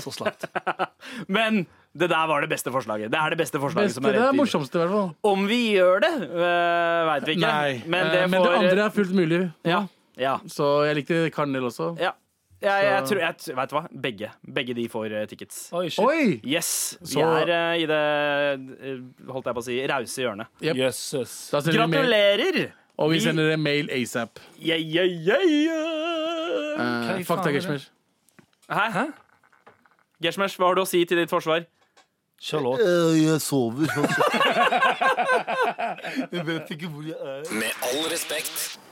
C: Så slapt.
E: Men det der var det beste forslaget. Det er det beste forslaget
F: Beste,
E: som liksom er
F: det
E: rett
F: er
E: inn.
F: morsomste, i hvert fall.
E: Om vi gjør det, uh, veit vi ikke. Men det,
F: Eh,
E: får,
F: men det andre er fullt mulig.
E: Ja. ja.
F: Så jeg likte Karnel også.
E: ja. Jeg, jeg,
F: Så-
E: tror, jeg, t- vet du hva? Begge. Begge de får eh, tickets.
C: Oi, shit.
F: Oi!
E: Yes. Vi
F: Så-
E: er eh, i det eh, holdt jeg på å si rause hjørnet.
C: Jøsses.
F: Da sender vi mail,
E: Gratulerer!
F: og vi sender en mail asap.
E: Yeah, yeah, yeah, yeah.
F: Eh,
C: i
F: fuck
C: faen er
F: deg,
C: det?
F: Gershmesh.
E: Hæ? Hæ? Gershmesh, hva har du å si til ditt forsvar?
C: Kjør låt.
B: Jeg sover. Jeg vet ikke hvor jeg er.
A: Med all respekt.